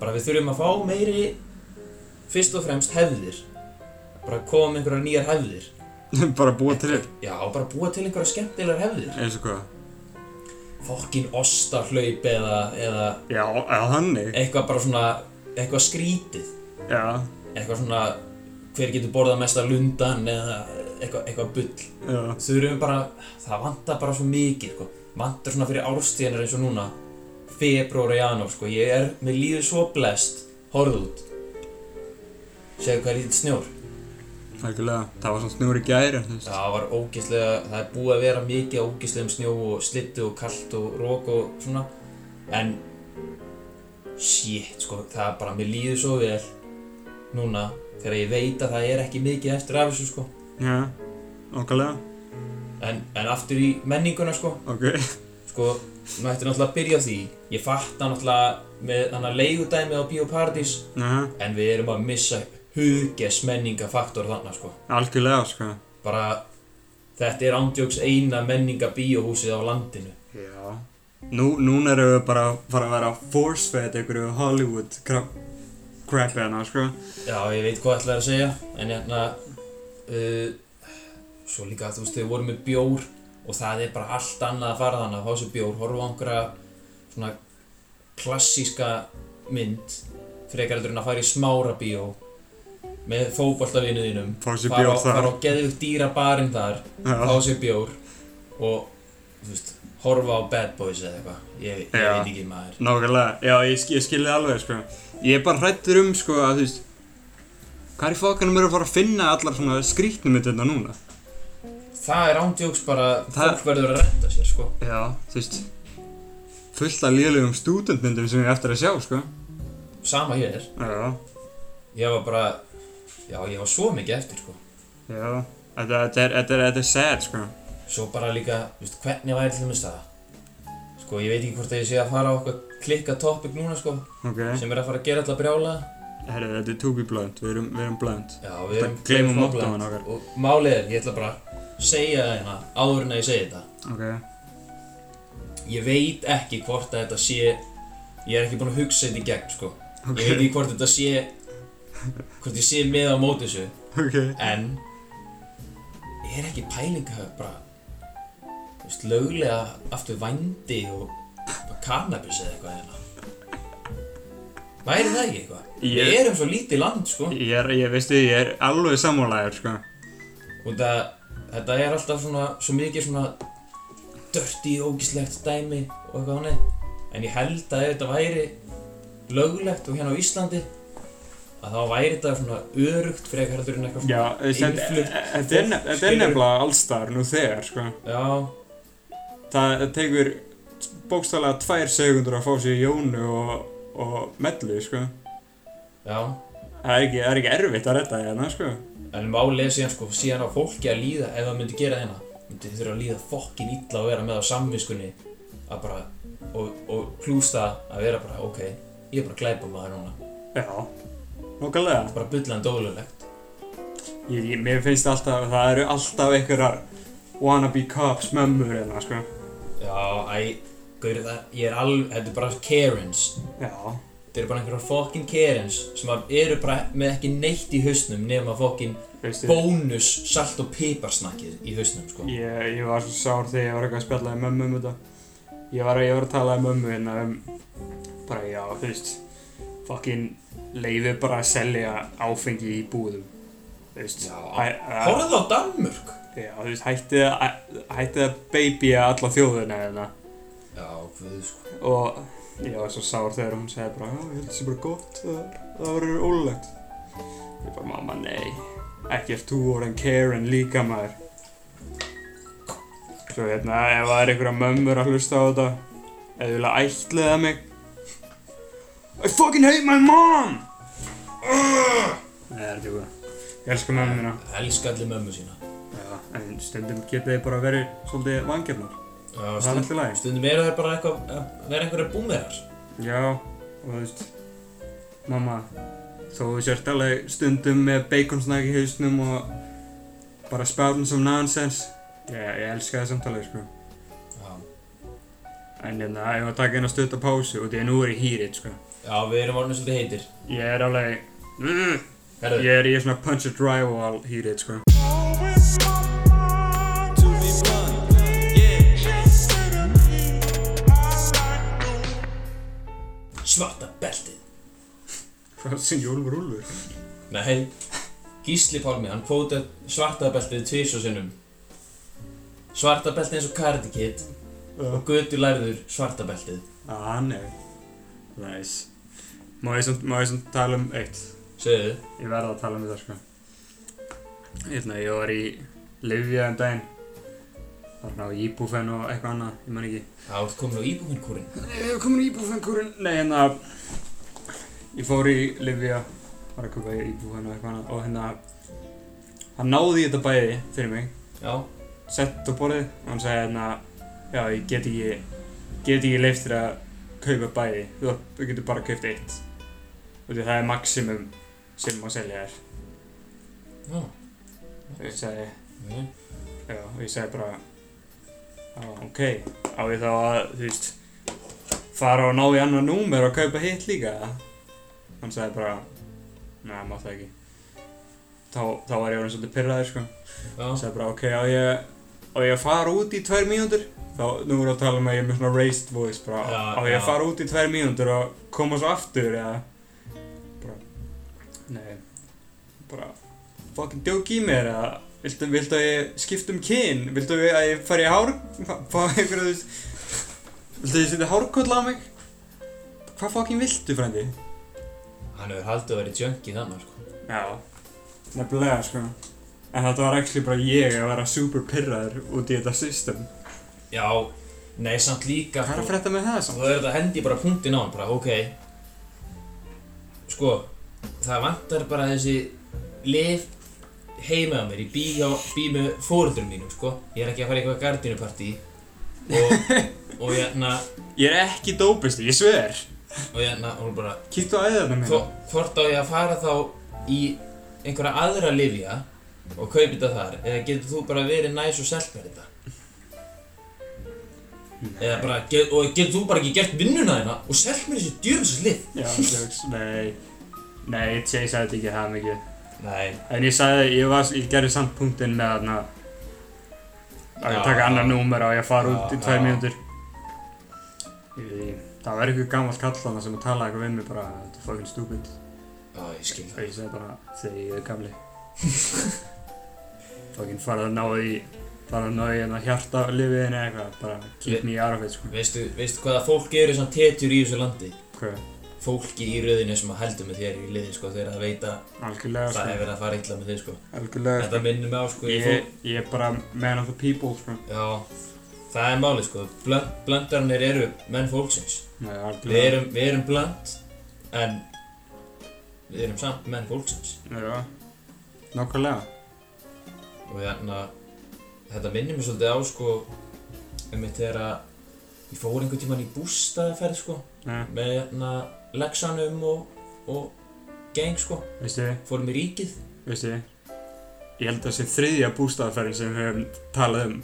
[SPEAKER 2] bara við þurfum að fá meiri fyrst og fremst hefðir bara koma með einhverjar nýjar hefðir
[SPEAKER 1] [laughs] Bara búa til þér.
[SPEAKER 2] já, bara búa til einhverjar skemmtilegar hefðir
[SPEAKER 1] Eins og hvað?
[SPEAKER 2] fokkin ostahlaup eða, eða
[SPEAKER 1] Já, eða hannig.
[SPEAKER 2] eitthvað bara svona eitthvað skrítið
[SPEAKER 1] Já.
[SPEAKER 2] eitthvað svona hver getur borðað mest af lundan eða eitthvað, eitthvað bull
[SPEAKER 1] Já.
[SPEAKER 2] þurfum bara, það vantar bara svo mikið sko. vantar svona fyrir árstíðanar eins og núna februar og janúar sko. ég er, mér líður svo blest horfðu út segðu hvað er lítið snjór
[SPEAKER 1] Algjörlega. Það var svona snúri gæri, þú veist.
[SPEAKER 2] það var ógeðslega, það er búið að vera mikið af ógeðslegum snjó og slittu og kalt og rók og svona en shit sko, það er bara, mér líður svo vel núna, þegar ég veit að það er ekki mikið eftir af þessu sko
[SPEAKER 1] Já. Okkarlega.
[SPEAKER 2] En, en aftur í menninguna sko,
[SPEAKER 1] Ok. [laughs]
[SPEAKER 2] sko, mætti náttúrulega að byrja á því. Ég fatta náttúrulega með þannig að leigudæmi á Bíóparadís,
[SPEAKER 1] Jaha.
[SPEAKER 2] en við erum að missa huges menningafaktor þarna sko.
[SPEAKER 1] Algjörlega, sko.
[SPEAKER 2] Bara, þetta er ándjóks eina menningabíóhúsið á landinu.
[SPEAKER 1] Já. Nú, núna erum við bara að fara að vera force-fed einhverju Hollywood crap, crapi hana, sko.
[SPEAKER 2] Já, ég veit hvað ætlaði að segja, en hérna, uh, svo líka þú veist, þau voru með bjór og það er bara allt annað að fara þannig að fá sér bjór, horfa á einhverja svona klassíska mynd frekar heldur en að fara í smára bíó með fótboltavinu þínum
[SPEAKER 1] Fá sér
[SPEAKER 2] fara
[SPEAKER 1] bjór
[SPEAKER 2] á-
[SPEAKER 1] þar.
[SPEAKER 2] fara á geðvig dýra barinn þar fá
[SPEAKER 1] Já,
[SPEAKER 2] sér bjór og þú veist, horfa á Bad Boys eða eitthvað ég, ég
[SPEAKER 1] Já.
[SPEAKER 2] veit ekki maður
[SPEAKER 1] nákvæmlega, já, ég, sk- ég skilði alveg, sko. Ég er bara hrættur um, sko, að þú veist, hvað er í fokkanum eru að fara að finna allar svona skrýtnum þetta núna?
[SPEAKER 2] það er ándjóks bara
[SPEAKER 1] Það-
[SPEAKER 2] fólk verður að retta sér sko
[SPEAKER 1] Já, þú veist, fullt af liðlegum stúdentmyndum sem ég á eftir að sjá, sko.
[SPEAKER 2] sama hér
[SPEAKER 1] Já,
[SPEAKER 2] ég var bara já ég var svo mikið eftir sko
[SPEAKER 1] já, þetta, þetta er, þetta er, þetta er sad, sko.
[SPEAKER 2] svo bara líka þú veist, hvernig væri til dæmis það sko ég veit ekki hvort að ég sé að fara á eitthvað klikka topic núna sko
[SPEAKER 1] Ok,
[SPEAKER 2] sem er að fara að gera alltaf brjála
[SPEAKER 1] herri, þetta er to be blunt, við erum, við erum blunt.
[SPEAKER 2] já við erum
[SPEAKER 1] Þetta gleymum
[SPEAKER 2] við erum
[SPEAKER 1] mottóinu
[SPEAKER 2] bland.
[SPEAKER 1] okkar.
[SPEAKER 2] og málið er ég ætla bara að segja það hérna áður en að ég segi þetta
[SPEAKER 1] Ok,
[SPEAKER 2] ég veit ekki hvort að þetta sé ég er ekki búinn að hugsa þetta í gegn sko.
[SPEAKER 1] ok,
[SPEAKER 2] ég veit ekki hvort þetta sé hvort ég sé með á móti þessu
[SPEAKER 1] ok,
[SPEAKER 2] en er ekki pælinga bara þú veist, löglega aftur vændi og bara cannabis eða eitthvað hérna væri það ekki eitthvað?
[SPEAKER 1] Ég-
[SPEAKER 2] við erum svo lítið land sko
[SPEAKER 1] ég er, ég veistu, ég er alveg sammálaður, sko.
[SPEAKER 2] og það, þetta er alltaf svona svo mikið svona dirty ógislegt dæmi og eitthvað hannig en ég held að ef þetta væri löglegt og hérna á Íslandi að þá væri þetta svona örugt frekar heldur en eitthvað svona
[SPEAKER 1] Já, þetta
[SPEAKER 2] innflutt
[SPEAKER 1] þetta er, nef- þetta er
[SPEAKER 2] skilurðu?
[SPEAKER 1] nefnilega allstar nú þegar, sko.
[SPEAKER 2] já,
[SPEAKER 1] Það það tekur bókstallega tvær segundur að fá sér jónu og, og mellu, sko.
[SPEAKER 2] já
[SPEAKER 1] Það er ekki, það er ekki erfitt að redda hérna, sko.
[SPEAKER 2] en málið er síðan sko síðan á fólki að líða ef það myndi gera þeina myndi þið þurfa að líða fokkin illa að vera með á samviskunni að bara og, og hlústa að vera bara ok ég er bara glæpa maður núna
[SPEAKER 1] Já, nokkulega.
[SPEAKER 2] bara bullandi ólulegt
[SPEAKER 1] Ég, ég, mér finnst alltaf, það eru alltaf einhverjar wannabe cops mömmur hérna, sko.
[SPEAKER 2] Já, æ, gaur það, ég er alveg, þetta er bara Karens
[SPEAKER 1] Já,
[SPEAKER 2] Þetta eru bara einhverjar fokkin Karens sem að eru bara með ekki neitt í hausnum nema fokkin
[SPEAKER 1] veistu.
[SPEAKER 2] bónus salt og piparsnakkið í hausnum, sko
[SPEAKER 1] Ég, ég var svo sár þegar ég var eitthvað að spjalla um mömmu um þetta. Ég var, ég var að tala um mömmu hérna um, bara já, þú veist, fucking leiði bara að selja áfengi í búðum. Þú veist,
[SPEAKER 2] Já.
[SPEAKER 1] hæ- hæ-
[SPEAKER 2] Horfðu á Danmörk
[SPEAKER 1] já, þú veist, hættið að, hættið að babya alla þjóðuna hérna.
[SPEAKER 2] Já, guð, sko
[SPEAKER 1] Og ég var svo sár þegar hún segi bara, já, ég held þessi bara gott, það, það verður ólegt. Ég bara, mamma, nei, ekki ert þú orðin Karen líka maður. Svo hérna, ef það er einhverja mömmur að hlusta á þetta, ef þú vilja ætliða mig, I fucking hate my mom! Ugh! Nei, það er ekki hvað. Ég elska mömmu mína.
[SPEAKER 2] Elska allir mömmu sína
[SPEAKER 1] Já, en stundum geta þið bara verið svolítið vangefnar.
[SPEAKER 2] Já,
[SPEAKER 1] Það er
[SPEAKER 2] stund,
[SPEAKER 1] alltaf læg.
[SPEAKER 2] stundum eru þær bara eitthvað, að vera einhverjar búmerar
[SPEAKER 1] Já, og þú veist, mamma, þó þú sért alveg stundum með baconsnæk í hausnum og bara spjálum sem nonsense. Ég, ég elska það samtalið, sko.
[SPEAKER 2] Já
[SPEAKER 1] En hérna, ég var að taka eina stutt að pásu og því að nú er ég hýrit, sko.
[SPEAKER 2] Já, við erum orðin svolítið heitir
[SPEAKER 1] Ég er alveg, mm,
[SPEAKER 2] Herðu,
[SPEAKER 1] ég er í svona punch a drywall hýrit, sko.
[SPEAKER 2] svarta beltið
[SPEAKER 1] Hvað sem Jólfur Úlfur?
[SPEAKER 2] Nei, Gísli Pálmi, hann kvótað svartabeltið tvis og sinnum. Svartabeltið eins og Karate Kid
[SPEAKER 1] Já.
[SPEAKER 2] og Götu lærður svartabeltið.
[SPEAKER 1] Ah, nei. Nice. Má ég samt, má ég samt tala um eitt?
[SPEAKER 2] Segðu,
[SPEAKER 1] Ég verða að tala um þetta sko Hérna, ég var í Livja um daginn Var hann á íbúfen og eitthvað annað, ég man ekki
[SPEAKER 2] það ert komin á íbúfinkúrin.
[SPEAKER 1] Nei, ég var komin í íbúfenkurinn Nei, hérna Ég fór í Livja Var að köpa í íbúfen og eitthvað annað Og hérna Hann náði í þetta bæði fyrir mig
[SPEAKER 2] Já,
[SPEAKER 1] Sett á borðið Og hann sagði hérna Já, ég get ekki Get ekki leift þér að kaupa bæði Þú þarft- þú getur bara kaupt eitt Þú veit, það er maximum sem má selja þér
[SPEAKER 2] já,
[SPEAKER 1] Ég sagði
[SPEAKER 2] ok.
[SPEAKER 1] Já, og ég segi bara Já, ok, á ég þá að, þú veist fara og ná í annar númer og kaupa hitt líka eða?" Hann segi bara Nei, mátt það ekki Þá, þá var ég orðin svolítið pirraður, sko Hann
[SPEAKER 2] Já,
[SPEAKER 1] segi bara, ok, á ég á ég að fara út í tvær mínútur þá, nú erum við að tala um að ég er með svona raised voice bara,
[SPEAKER 2] Já,
[SPEAKER 1] á ég að
[SPEAKER 2] já.
[SPEAKER 1] fara út í tvær mínútur og koma svo aftur, eða bara, nei bara fucking djók í mér eða viltu, viltu að ég skipta um kyn viltu að ég fari í hár fá einhverju þú veist viltu að ég setja hárkoll á mig hvað fucking viltu frændi
[SPEAKER 2] Hann hefur haldið að vera junkie þannig, sko.
[SPEAKER 1] já nefnilega sko en þetta var ekki bara ég að vera super pirraður út í þetta system
[SPEAKER 2] Já, nei, samt líka,
[SPEAKER 1] hvað er að
[SPEAKER 2] sko.
[SPEAKER 1] frétta með það samt?
[SPEAKER 2] Þú verður að hendi bara punktin á hann, bara, ok. Sko, það vantar bara þessi lif heima á mér, í bí, á, bí með fóruldrum mínum, sko. Ég er ekki að fara í eitthvað gardinupartí. Og, og hérna,
[SPEAKER 1] ég er ekki dópisti, ég sver
[SPEAKER 2] og hérna, og hún bara,
[SPEAKER 1] kýttu á æðarna
[SPEAKER 2] Svo,
[SPEAKER 1] mína
[SPEAKER 2] hvort á ég að fara þá í einhverja aðra lifja og kaupi þetta þar eða getur þú bara verið næs og selt mér þetta eða bara, get, og getur þú bara ekki gert vinnuna þína og selt mér þessi djurins lif
[SPEAKER 1] já, jokes, nei nei, ég segi þetta ekki það mikið
[SPEAKER 2] nei,
[SPEAKER 1] En ég sagði, ég, var, ég gerði samt punktinn með þarna að
[SPEAKER 2] Já,
[SPEAKER 1] ég taka
[SPEAKER 2] já.
[SPEAKER 1] annar númer og ég fara
[SPEAKER 2] Já,
[SPEAKER 1] út í
[SPEAKER 2] já.
[SPEAKER 1] tvær mínútur. Ég veit ekki, Það var eitthvað gammal kall þarna sem að tala eitthvað við mig bara Þetta er fucking stupid
[SPEAKER 2] já ég skil
[SPEAKER 1] og ég sagði bara þegar ég er gamli Fucking farað að ná í farað að ná í hérna hjarta lifiðin eða eitthvað bara keep me out of it sko
[SPEAKER 2] það veistu, veistu hvaða fólk eru svona tetjur í þessu landi
[SPEAKER 1] Hvað,
[SPEAKER 2] fólki í röðinu sem að heldur með þér í liði sko þegar það veit að
[SPEAKER 1] algjörlega
[SPEAKER 2] það er
[SPEAKER 1] sko
[SPEAKER 2] verið að fara illa með þig sko
[SPEAKER 1] Algjörlega
[SPEAKER 2] þetta
[SPEAKER 1] sko
[SPEAKER 2] minnir mig á sko í fólk-
[SPEAKER 1] Ég, ég er bara man of the people sko
[SPEAKER 2] já, það er málið sko Blönd, blöndarnir eru menn fólksins
[SPEAKER 1] Nei,
[SPEAKER 2] Við
[SPEAKER 1] algjörlega
[SPEAKER 2] erum, við erum bland, en við erum samt menn fólksins.
[SPEAKER 1] Já, nákvæmlega
[SPEAKER 2] Og þannig að þetta minnir mér svolítið á, sko, um eitt þegar að ég fór einhvern tíman í bústaðaferð, sko,
[SPEAKER 1] Nei,
[SPEAKER 2] með hérna Lexanum og, og gang, sko,
[SPEAKER 1] veistu
[SPEAKER 2] fórum í ríkið.
[SPEAKER 1] Veistu, ég held að það sé þriðja bústaðaferðin sem við höfum talað um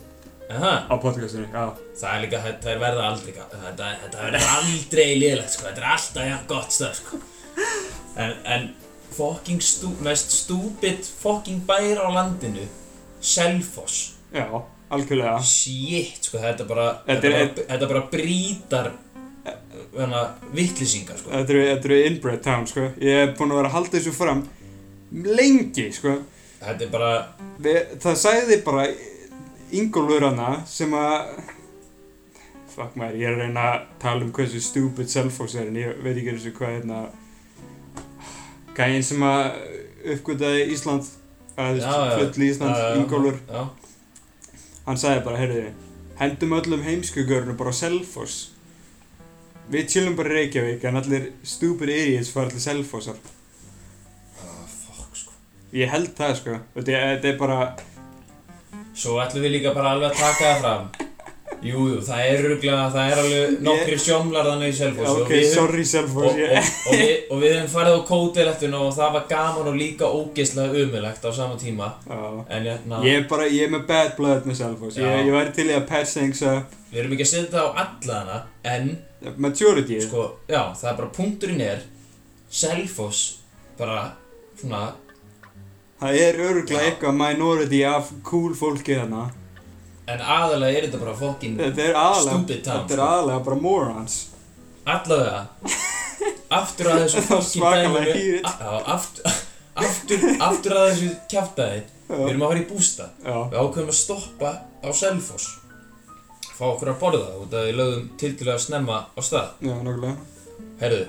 [SPEAKER 2] Aha,
[SPEAKER 1] á podcastinu, já.
[SPEAKER 2] það er líka, þetta er verða aldrei, ga- þetta, þetta verður aldrei liðlegt, sko, þetta er alltaf jafn gott stöð, sko. En, en fucking stú, mest stúbid fucking bær á landinu, Selfoss.
[SPEAKER 1] Já, algjörlega.
[SPEAKER 2] Shit, sko, þetta er bara,
[SPEAKER 1] Þetta
[SPEAKER 2] þetta
[SPEAKER 1] er-
[SPEAKER 2] er bara, þetta er bara brítar, hérna, vittlýsingar, sko.
[SPEAKER 1] Þetta eru, þetta eru inbred town, sko. Ég er búinn að vera að halda þessu fram lengi, sko.
[SPEAKER 2] Þetta er bara,
[SPEAKER 1] Við, það sagði bara Ingólfur hana sem að... Fuck maður, ég er að reyna að tala um hversu stupid self-host er en ég veit ekki eins og hvað hérna... Gæinn sem að uppgötaði Ísland, að þú
[SPEAKER 2] Já, já.
[SPEAKER 1] veist, full Ísland,
[SPEAKER 2] Já, já,
[SPEAKER 1] Ingólfur.
[SPEAKER 2] um, já,
[SPEAKER 1] Hann sagði bara, heyrðu, hendum öllum heimskugörnum bara á Selfoss. Við chillum bara í Reykjavík en allir stupid idiots fara allir Selfossar.
[SPEAKER 2] ah, fuck, sko.
[SPEAKER 1] Ég held það, sko. Þetta er- þetta er bara,
[SPEAKER 2] Svo ætlum við líka bara alveg að taka það fram. Jú, jú, það er ruglega, það er alveg nokkri sjómlar þannig í Selfoss
[SPEAKER 1] ok, sorry Selfoss,
[SPEAKER 2] og,
[SPEAKER 1] ég...
[SPEAKER 2] og, og,
[SPEAKER 1] [laughs]
[SPEAKER 2] við, og við hefum farið á kótelettina og það var gaman og líka ógeðslega umilagt á sama tíma.
[SPEAKER 1] Já.
[SPEAKER 2] En hérna,
[SPEAKER 1] Ég er bara, ég er með bad blood með Selfoss. Ég,
[SPEAKER 2] Já.
[SPEAKER 1] ég væri til í að patch things up.
[SPEAKER 2] við erum ekki að setja það á alla hana, en
[SPEAKER 1] Maturity.
[SPEAKER 2] sko, já, það er bara punkturinn er Selfoss bara svona
[SPEAKER 1] Það er öruglega
[SPEAKER 2] Já.
[SPEAKER 1] eitthvað minority af cool fólki þarna.
[SPEAKER 2] en aðalega er þetta bara fokkin
[SPEAKER 1] Þetta er aðalega,
[SPEAKER 2] Stupid town,
[SPEAKER 1] þetta er
[SPEAKER 2] sko.
[SPEAKER 1] aðalega bara morons.
[SPEAKER 2] allavega aftur að
[SPEAKER 1] [laughs] Það
[SPEAKER 2] þessu
[SPEAKER 1] var
[SPEAKER 2] fokkin
[SPEAKER 1] svakalega
[SPEAKER 2] dæmi
[SPEAKER 1] hýrit.
[SPEAKER 2] a- já, aftur, aftur, aftur að þessu kjaftaði við
[SPEAKER 1] Já.
[SPEAKER 2] erum að fara í bústa
[SPEAKER 1] Já.
[SPEAKER 2] við ákveðum að stoppa á Selfoss fá okkur að borða út að við lögum tildulega snemma á stað
[SPEAKER 1] Já, nokkulega.
[SPEAKER 2] herðu,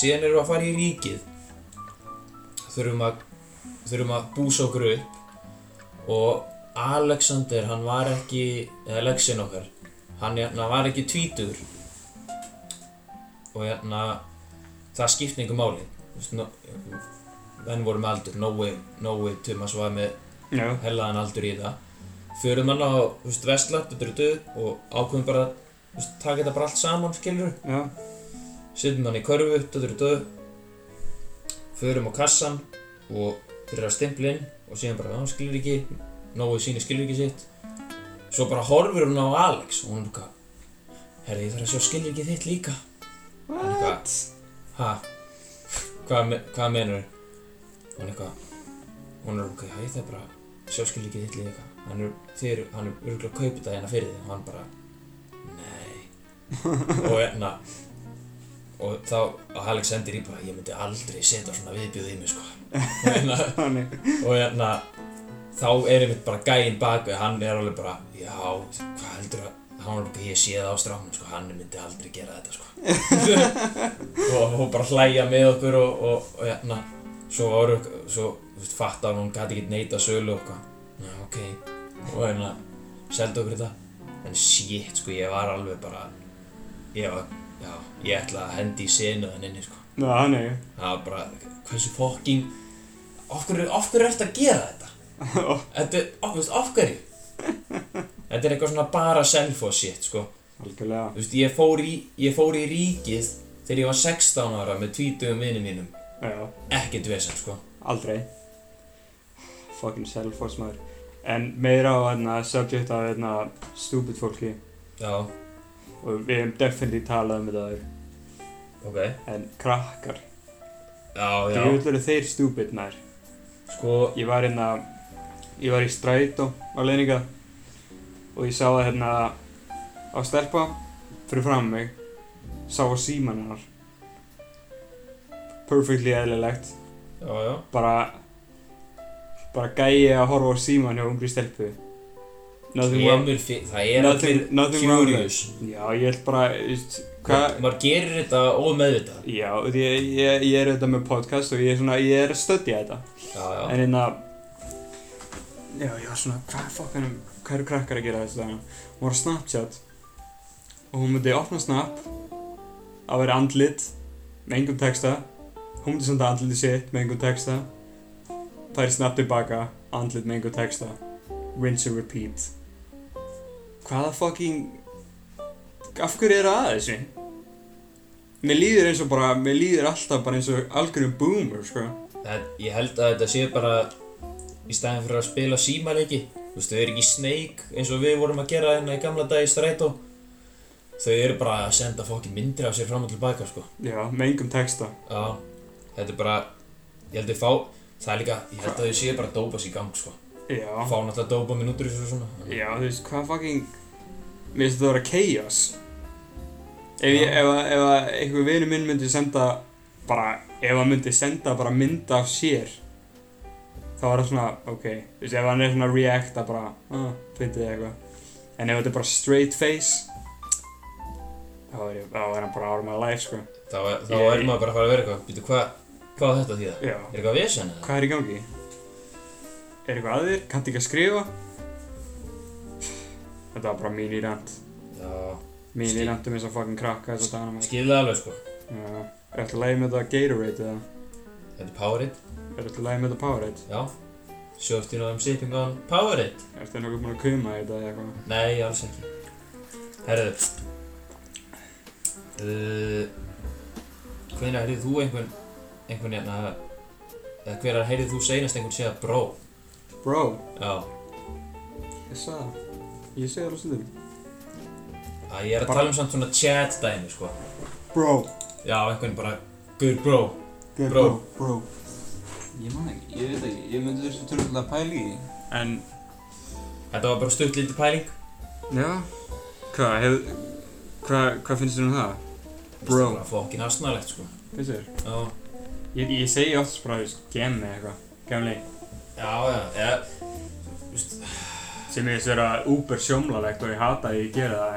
[SPEAKER 2] síðan erum við að fara í ríkið þurfum að þurfum að búsa okkur upp og Alexander hann var ekki, eða Lexin okkar hann hérna var ekki tvítur og hérna það skipti einhver máli Þú veist, no, menn voru með aldur Nói, Nói, Tumas var með
[SPEAKER 1] Já.
[SPEAKER 2] hellaðan aldur í það förum hann á, þú veist, Vestland þetta eru döð og ákveðum bara þú veist, taka þetta bara allt saman, skilur
[SPEAKER 1] Já.
[SPEAKER 2] setjum hann í körfu, döður og döðu förum á kassan og byrjar að stimpla inn og síðan bara, hann skilur ekki nógu síni skilur ekki sitt svo bara horfir hún á Alex og hún er bara herri, ég þarf að sjá skilur ekki þitt líka hann er eitthvað ha, hvað, me- hvað menur hún er eitthvað hún er eitthvað, ég þarf bara að sjá skilur ekki þitt líka hann er, þeir, hann er örgulega að kaupa þetta hérna fyrir þig og hann bara, nei og hérna og þá að Alex sendir í bara ég myndi aldrei setja svona viðbjöð í mig sko [laughs] og hérna,
[SPEAKER 1] Þannig,
[SPEAKER 2] og hérna þá er einmitt bara gæinn bakvið hann er alveg bara, já, hvað heldur að hann var bara, ég sé það á stráknum sko, hann myndi aldrei gera þetta sko [laughs] og hún bara hlæja með okkur og, og, og hérna svo voru, svo, þú veist, fattar hún hún gæti ekki neita sölu og eitthvað já, ok, og hérna seldu okkur þetta, en shit sko ég var alveg bara ég var, já, ég ætla að hendi í senu þannig sko
[SPEAKER 1] na, þannig [laughs]
[SPEAKER 2] Það var bara, hversu fokking Af hverju, af hverju ertu að gera þetta? Þetta er, af, þú veist, af
[SPEAKER 1] [laughs]
[SPEAKER 2] hverju? Þetta er eitthvað svona bara self-hoss shit, sko
[SPEAKER 1] Algjörlega
[SPEAKER 2] Þú veist, ég fór, í, ég fór í ríkið þegar ég var 16 ára með tvítugum vinum mínum
[SPEAKER 1] Já,
[SPEAKER 2] Ekkert vesen, sko
[SPEAKER 1] aldrei Fucking self-force maður En meira á hérna subject af hérna stupid fólki
[SPEAKER 2] Já,
[SPEAKER 1] Og við hefum definitely talað um þetta áður.
[SPEAKER 2] ok
[SPEAKER 1] En krakkar,
[SPEAKER 2] Já, já,
[SPEAKER 1] djúvill eru þeir stupid maður
[SPEAKER 2] sko
[SPEAKER 1] Ég var hérna, ég var í strætó á leininga Og ég sá að hérna á stelpa fyrir fram mig Sá að síman hennar Perfectly eðlilegt
[SPEAKER 2] Já, já,
[SPEAKER 1] bara bara gæi að horfa á síman hjá ungri stelpu nothing wrong
[SPEAKER 2] kemur fyrir, það er
[SPEAKER 1] nothing,
[SPEAKER 2] allir
[SPEAKER 1] nothing wrong with
[SPEAKER 2] curious
[SPEAKER 1] it. já ég held bara þú veist, hvað
[SPEAKER 2] Maður gerir þetta ómeðvitað
[SPEAKER 1] já því ég, ég, ég er þetta með podcast og ég er svona ég er að stöddja þetta
[SPEAKER 2] Já, já,
[SPEAKER 1] en einna já ég var svona hvað fokkanum hvað eru krakkar að gera þessu dagana hún var á Snapchat og hún myndi opna Snap að vera andlit með engum texta hún myndi senda andlitið sitt með engum texta færi Snap tilbaka andlit með engum texta rinse and repeat hvaða fucking af hverju er að þessu mér líður eins og bara mér líður alltaf bara eins og algjörnum boomer sko
[SPEAKER 2] Það, ég held að þetta sé bara í staðin fyrir að spila símaleiki Þú veist, þau eru ekki í Snake eins og við vorum að gera hérna í gamla dag í strætó Þau eru bara að senda fokkin myndir af sér fram og tilbaka, sko
[SPEAKER 1] já með engum texta
[SPEAKER 2] Já, þetta er bara, ég held að fá, það er líka, ég held að þau séu bara að dópa sér í gang, sko
[SPEAKER 1] já
[SPEAKER 2] Fá náttúrulega dópa mínútur í þessu og svona
[SPEAKER 1] Já, þú veist, hvað fucking Mér finnst þetta að vera chaos Ef, ég,
[SPEAKER 2] Já.
[SPEAKER 1] ef, að- ef að einhver vinu minn myndi senda bara, ef hann myndi senda bara mynd af sér þá er það svona, ok þú veist, ef hann er svona að reacta bara ah, fyndið eða eitthvað en ef þetta er bara straight face þá er, ég, þá er hann bara out of my life, sko
[SPEAKER 2] Þá, er- þá
[SPEAKER 1] Ég-
[SPEAKER 2] er maður bara að fara að vera eitthvað, býtu hvað, hvað á þetta því það?
[SPEAKER 1] Já,
[SPEAKER 2] Er eitthvað vesen eða?
[SPEAKER 1] hvað er í gangi? Er eitthvað að þér? Kanntu ekki að skrifa? Þetta var bara mín í rand
[SPEAKER 2] Já,
[SPEAKER 1] Mín
[SPEAKER 2] Skil-
[SPEAKER 1] í rand um þess að fucking krakka þess að dana maður
[SPEAKER 2] skilðið alveg, sko
[SPEAKER 1] Já, er alltaf lægi með þetta Gatorade eða?
[SPEAKER 2] Þetta er Powerade,
[SPEAKER 1] Er alltaf lægi með þetta Powerade?
[SPEAKER 2] já Sjóft í náðum sipping on Powerade
[SPEAKER 1] Er alltaf nokkuð búin að kuma þetta eða eitthvað?
[SPEAKER 2] Nei, alls ekki Herðu uh, Hvenær heyrðið þú einhvern einhvern hérna eða hvenær heyrðið þú seinast einhvern segja bró
[SPEAKER 1] Bro,
[SPEAKER 2] Já,
[SPEAKER 1] ég sagði það. Ég segi það alveg stundum.
[SPEAKER 2] að ég er að tala um samt svona chat dæmi sko
[SPEAKER 1] Bro,
[SPEAKER 2] Já, einhvern bara Good bró
[SPEAKER 1] get
[SPEAKER 2] Bro.
[SPEAKER 1] bro.
[SPEAKER 3] Ég man ekki, ég veit ekki, ég myndi þurftu törnulega að pæla í því.
[SPEAKER 1] En,
[SPEAKER 2] Þetta var bara stutt lítið pæling
[SPEAKER 1] já, hvað, hef, hvað, hvað finnst þér um það? Bro.
[SPEAKER 2] Það var fokkin asnalegt sko
[SPEAKER 1] Finnst þér?
[SPEAKER 2] Já,
[SPEAKER 1] Ég, ég segi oft bara, þú veist, gem eða eitthvað, gemli,
[SPEAKER 2] já, já, já Vist,
[SPEAKER 1] sem ég þess vera úber sjómlalegt og ég hata að ég gera það,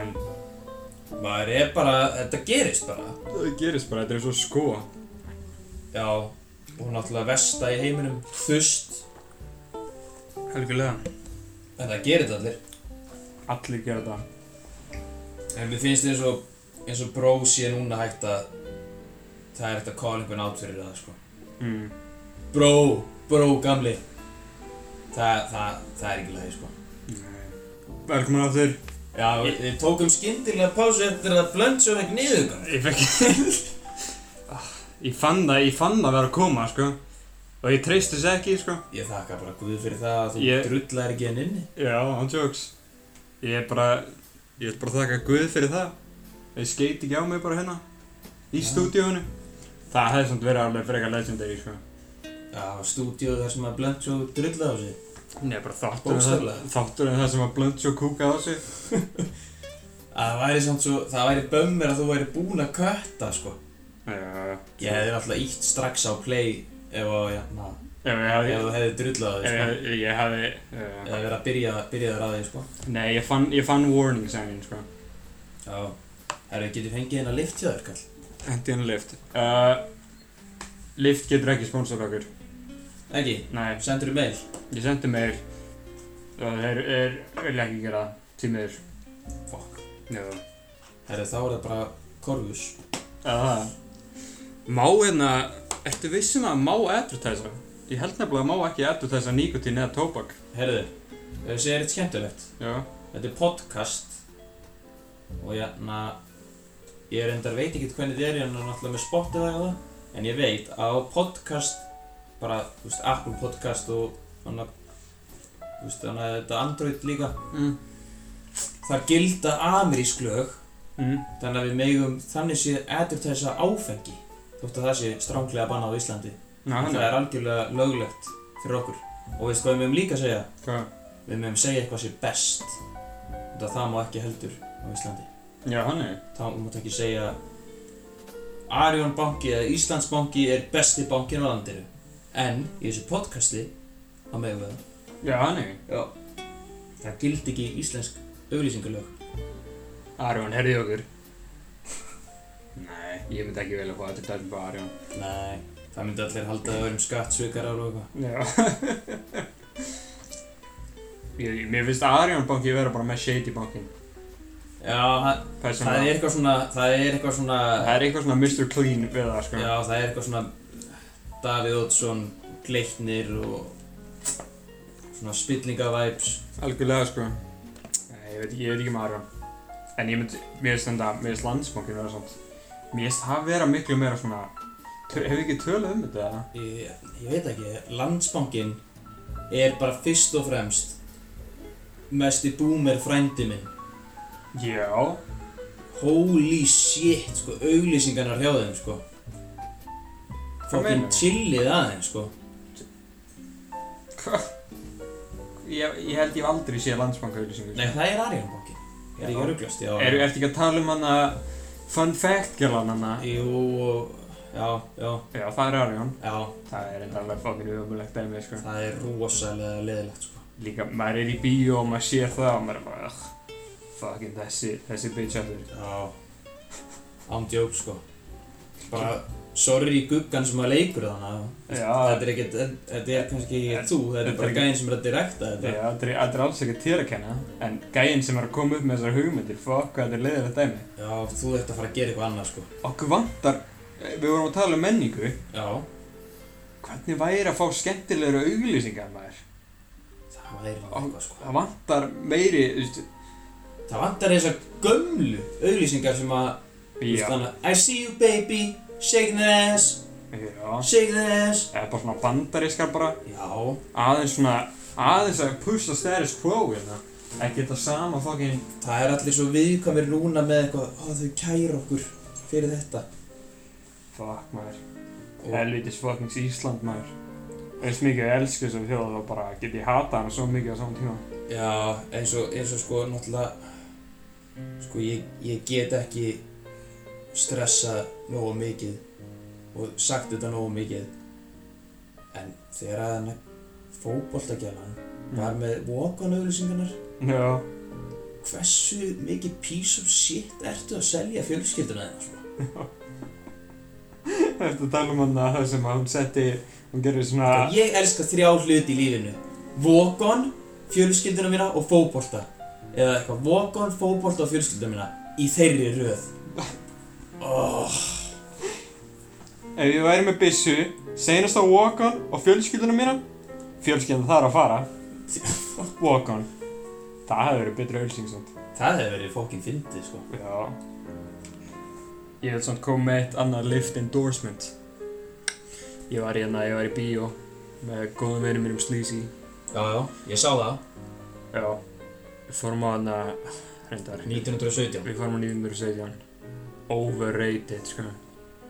[SPEAKER 1] en
[SPEAKER 2] maður er bara, þetta gerist bara
[SPEAKER 1] það gerist bara, þetta er svo sko.
[SPEAKER 2] Já, og náttúrulega vesta í heiminum Þust,
[SPEAKER 1] Helgulega.
[SPEAKER 2] þetta gerir þetta allir
[SPEAKER 1] Allir gera þetta.
[SPEAKER 2] En við finnst eins og, eins og bró sé núna hægt að það er hægt að call einhvern átt fyrir það, sko.
[SPEAKER 1] Mm.
[SPEAKER 2] Bró, bró, gamli. Það, það, það er ekki lagi, sko.
[SPEAKER 1] Nei. Velkomin aftur.
[SPEAKER 2] Já, við, við tókum skyndilega pásu eftir að blönd svo hægt niður, gamli.
[SPEAKER 1] Ég fekk Ah, Ég fann það, ég fann það að vera að koma, sko Og ég treyst þess ekki, sko
[SPEAKER 2] Ég þakka bara Guð fyrir það að þú
[SPEAKER 1] Ég-
[SPEAKER 2] drullar ekki henn inni.
[SPEAKER 1] Já, hann jokes Ég er bara, ég vil bara þakka Guð fyrir það Ég skeiti ekki á mig bara hérna Í
[SPEAKER 2] Já.
[SPEAKER 1] stúdíónu Það hefði samt verið alveg frekar legendary, sko
[SPEAKER 2] Já, stúdíóð þar sem að blönd svo drullar á sig.
[SPEAKER 1] Nei, bara þáttur en það,
[SPEAKER 2] Bókstaflega.
[SPEAKER 1] þáttur en það sem að blönd svo kúka á sig
[SPEAKER 2] Að það væri samt svo, það væri bömmir að þú væri búinn að kötta, sko.
[SPEAKER 1] Já, já, já
[SPEAKER 2] Ég hefði alltaf ítt strax á play ef að, jafna,
[SPEAKER 1] Ef ég hefði,
[SPEAKER 2] ef þú hefði drullað
[SPEAKER 1] ef ég
[SPEAKER 2] þig,
[SPEAKER 1] hefði, ég hefði,
[SPEAKER 2] sko,
[SPEAKER 1] uh,
[SPEAKER 2] eða verið að byrja, byrja þér að þig, sko.
[SPEAKER 1] nei, ég fann, ég fann warning sign, sko.
[SPEAKER 2] Já, herru, getur fengið hérna lift hjá þér, kall?
[SPEAKER 1] Hendi hann lift. Uh, lift getur ekki sponsor okkur.
[SPEAKER 2] Ekki,
[SPEAKER 1] Nei,
[SPEAKER 2] sendur mail.
[SPEAKER 1] ég sendi meir. Það er, er, er ekki gera tímiður.
[SPEAKER 2] Fuck.
[SPEAKER 1] Já.
[SPEAKER 2] Herru, þá er það bara korfus.
[SPEAKER 1] Uh, má hérna, ertu vissin að má advertisa? Ég held nefnilega að má ekki advertisa nikotín eða tóbak.
[SPEAKER 2] Herru, þessi er eh, eitt skemmtilegt.
[SPEAKER 1] Já.
[SPEAKER 2] Þetta er podcast og hérna ég reyndar veit ekki hvernig þetta er ég er náttúrulega með Spotify og það en ég veit að á podcast bara, þú veist, Apple podcast og hana, þú veist, hana, þetta Android líka
[SPEAKER 1] Mm.
[SPEAKER 2] þar gilda amerísk lög
[SPEAKER 1] Mm.
[SPEAKER 2] þannig að við megum þannig sé advertisa áfengi þótt að það sé stránglega bannað á Íslandi
[SPEAKER 1] Ná, hann
[SPEAKER 2] það er algjörlega löglegt fyrir okkur og veist hvað við megum líka segja
[SPEAKER 1] Hvað?
[SPEAKER 2] við megum segja eitthvað sé best þetta það má ekki heldur á Íslandi
[SPEAKER 1] Já, hann er.
[SPEAKER 2] þá mátt ekki segja Arjón banki eða Íslandsbanki er besti bankin á landinu en í þessu podcasti þá megum við það
[SPEAKER 1] Já, hann er.
[SPEAKER 2] Já. það gildi ekki íslensk auglýsingalög
[SPEAKER 1] Arjón, herði okkur. Nei, ég myndi ekki velja að fá advertising bara Arjón.
[SPEAKER 2] nei það myndi allir halda að verðum skattsvikar á og eitthvað
[SPEAKER 1] Já [laughs] ég, Mér finnst Arjón banki vera bara með shady bankin
[SPEAKER 2] já það,
[SPEAKER 1] Það er, svona,
[SPEAKER 2] það er eitthvað svona það er eitthvað svona
[SPEAKER 1] það er eitthvað svona Mr. Clean við það sko
[SPEAKER 2] já það er eitthvað svona Davíð Oddsson gleitnir og svona spillingavæps
[SPEAKER 1] Algjörlega sko Nei, ég veit, ég veit ekki með Arjón En ég mynd, mér finnst þetta, mér finnst landsbankin vera svona Mér finnst það vera miklu meira svona tö- Hefur ekki tölum um þetta? eða?
[SPEAKER 2] Ég, ég veit ekki, landsbankin er bara fyrst og fremst mesti boomer frændi minn
[SPEAKER 1] Já
[SPEAKER 2] Holy shit, sko, auglýsingarnar hjá þeim, sko
[SPEAKER 1] Hvað
[SPEAKER 2] Fucking
[SPEAKER 1] meinarðu?
[SPEAKER 2] chillið að þeim, sko
[SPEAKER 1] Hva? Ég, ég held ég hef aldrei séð landsbanka auðlýsingu
[SPEAKER 2] Nei, það er Arjónbankin Ég er ekki að rugglast, já
[SPEAKER 1] Eru ertu ekki að tala um hana Fun fact gælan hana?
[SPEAKER 2] Jú, og- já, já,
[SPEAKER 1] Já, það er Arjón
[SPEAKER 2] já
[SPEAKER 1] Það er enda alveg fokkin umulegt dæmi sko
[SPEAKER 2] Það er rosalega leðilegt, sko
[SPEAKER 1] líka maður er í bíó og maður sér það og maður er bara ugh, fucking þessi, þessi bitch allir
[SPEAKER 2] Já Ándjók, sko Bara, sorry guggan sem að leikur þarna Þetta
[SPEAKER 1] já,
[SPEAKER 2] er ekkert, þetta er kannski
[SPEAKER 1] Þetta-
[SPEAKER 2] ekki þú, þetta
[SPEAKER 1] þetta
[SPEAKER 2] er
[SPEAKER 1] er
[SPEAKER 2] bara
[SPEAKER 1] ekki-
[SPEAKER 2] gæðin sem er að direkta
[SPEAKER 1] já,
[SPEAKER 2] þetta.
[SPEAKER 1] þetta er þetta er alls ekki þér að kenna en gæinn sem er að koma upp með þessar hugmyndir fuck, hvað þetta er leiðilegt dæmi
[SPEAKER 2] Já, þú ert að fara að gera eitthvað annað, sko.
[SPEAKER 1] okkur vantar, eh, við vorum að tala um menningu
[SPEAKER 2] Já,
[SPEAKER 1] hvernig væri að fá skemmtilegur auglýsingar maður
[SPEAKER 2] það væri nú
[SPEAKER 1] Á-
[SPEAKER 2] eitthvað, sko.
[SPEAKER 1] það vantar meiri, þú veist
[SPEAKER 2] Það vantar þessar gömlu auglýsingar sem að, þú veist
[SPEAKER 1] já,
[SPEAKER 2] þannig, I see you baby, shake the ass,
[SPEAKER 1] já
[SPEAKER 2] shake the ass.
[SPEAKER 1] eða bara svona bandariskar bara
[SPEAKER 2] Já,
[SPEAKER 1] aðeins svona, aðeins að pussa status quo hérna ekki þetta sama fucking
[SPEAKER 2] það er allir svo viðkvæmir núna með eitthvað, ó þau kæra okkur fyrir þetta.
[SPEAKER 1] fuck maður
[SPEAKER 2] Og
[SPEAKER 1] Helvitis fuckings Ísland maður Eins mikið ég elsku þessum þjóð þá bara get ég hata hana svo mikið á saman tíma
[SPEAKER 2] Já, eins og, eins og sko, náttúrulega, sko, ég, ég get ekki stressa nógu mikið og sagt þetta nógu mikið. En þegar að hann fótboltagjalan
[SPEAKER 1] Mm.
[SPEAKER 2] var með walk-on auðlýsingarnar,
[SPEAKER 1] Já
[SPEAKER 2] hversu mikið piece of shit ertu að selja fjölskylduna sko? þeirna svona?
[SPEAKER 1] Eftir að tala um hann að það sem að hún setti Hún gerir svona
[SPEAKER 2] Sko, ég elska þrjá hluti í lífinu. Walk-on, fjölskylduna mína og fótbolta. Eða eitthvað, walk-on, fótbolta og fjölskylduna mína. Í þeirri röð. Oh.
[SPEAKER 1] Ef ég væri með byssu Seinasta walk-on og fjölskylduna mína Fjölskyldan þar að fara Walk-on Það hefur verið betra ölsing samt
[SPEAKER 2] Það hefði verið fokkin fyndið, sko.
[SPEAKER 1] Já Ég vil samt koma með eitt annað lift endorsement Ég var hérna, ég var í bíó Með góðum verið mínum Sleazy
[SPEAKER 2] Já, já, ég sá það.
[SPEAKER 1] Já Við fórum á hana Reyndar
[SPEAKER 2] 1917.
[SPEAKER 1] Við fórum á 1917 Overrated sko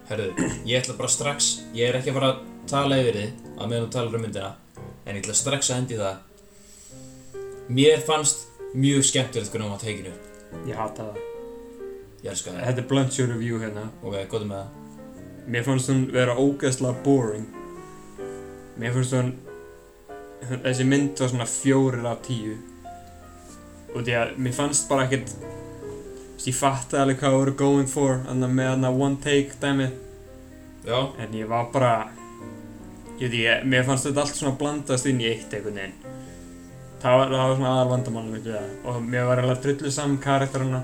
[SPEAKER 2] Herðu, ég ætla bara strax, ég er ekki að fara að tala yfir þið á meðan þú talar um myndina, en ég ætla strax að endi það. Mér fannst mjög skemmtilegt hvernig hún var teikinu.
[SPEAKER 1] Ég hata það
[SPEAKER 2] Ég elska það.
[SPEAKER 1] Þetta er blunt show review hérna
[SPEAKER 2] Ok, gott með það.
[SPEAKER 1] Mér fannst hún vera ógeðslega boring Mér finnst hún, hún- þessi mynd var svona fjórir af tíu. Og því að mér fannst bara ekkert, þú veist, ég fattaði alveg hvað það voru going for, annað með annað one take dæmið.
[SPEAKER 2] Já,
[SPEAKER 1] En ég var bara, ég veit ég, mér fannst þetta allt svona blandast inn í eitt einhvern veginn. Það var, það var svona aðal vandamálum við það. Og mér var alveg drullu saman karakterina.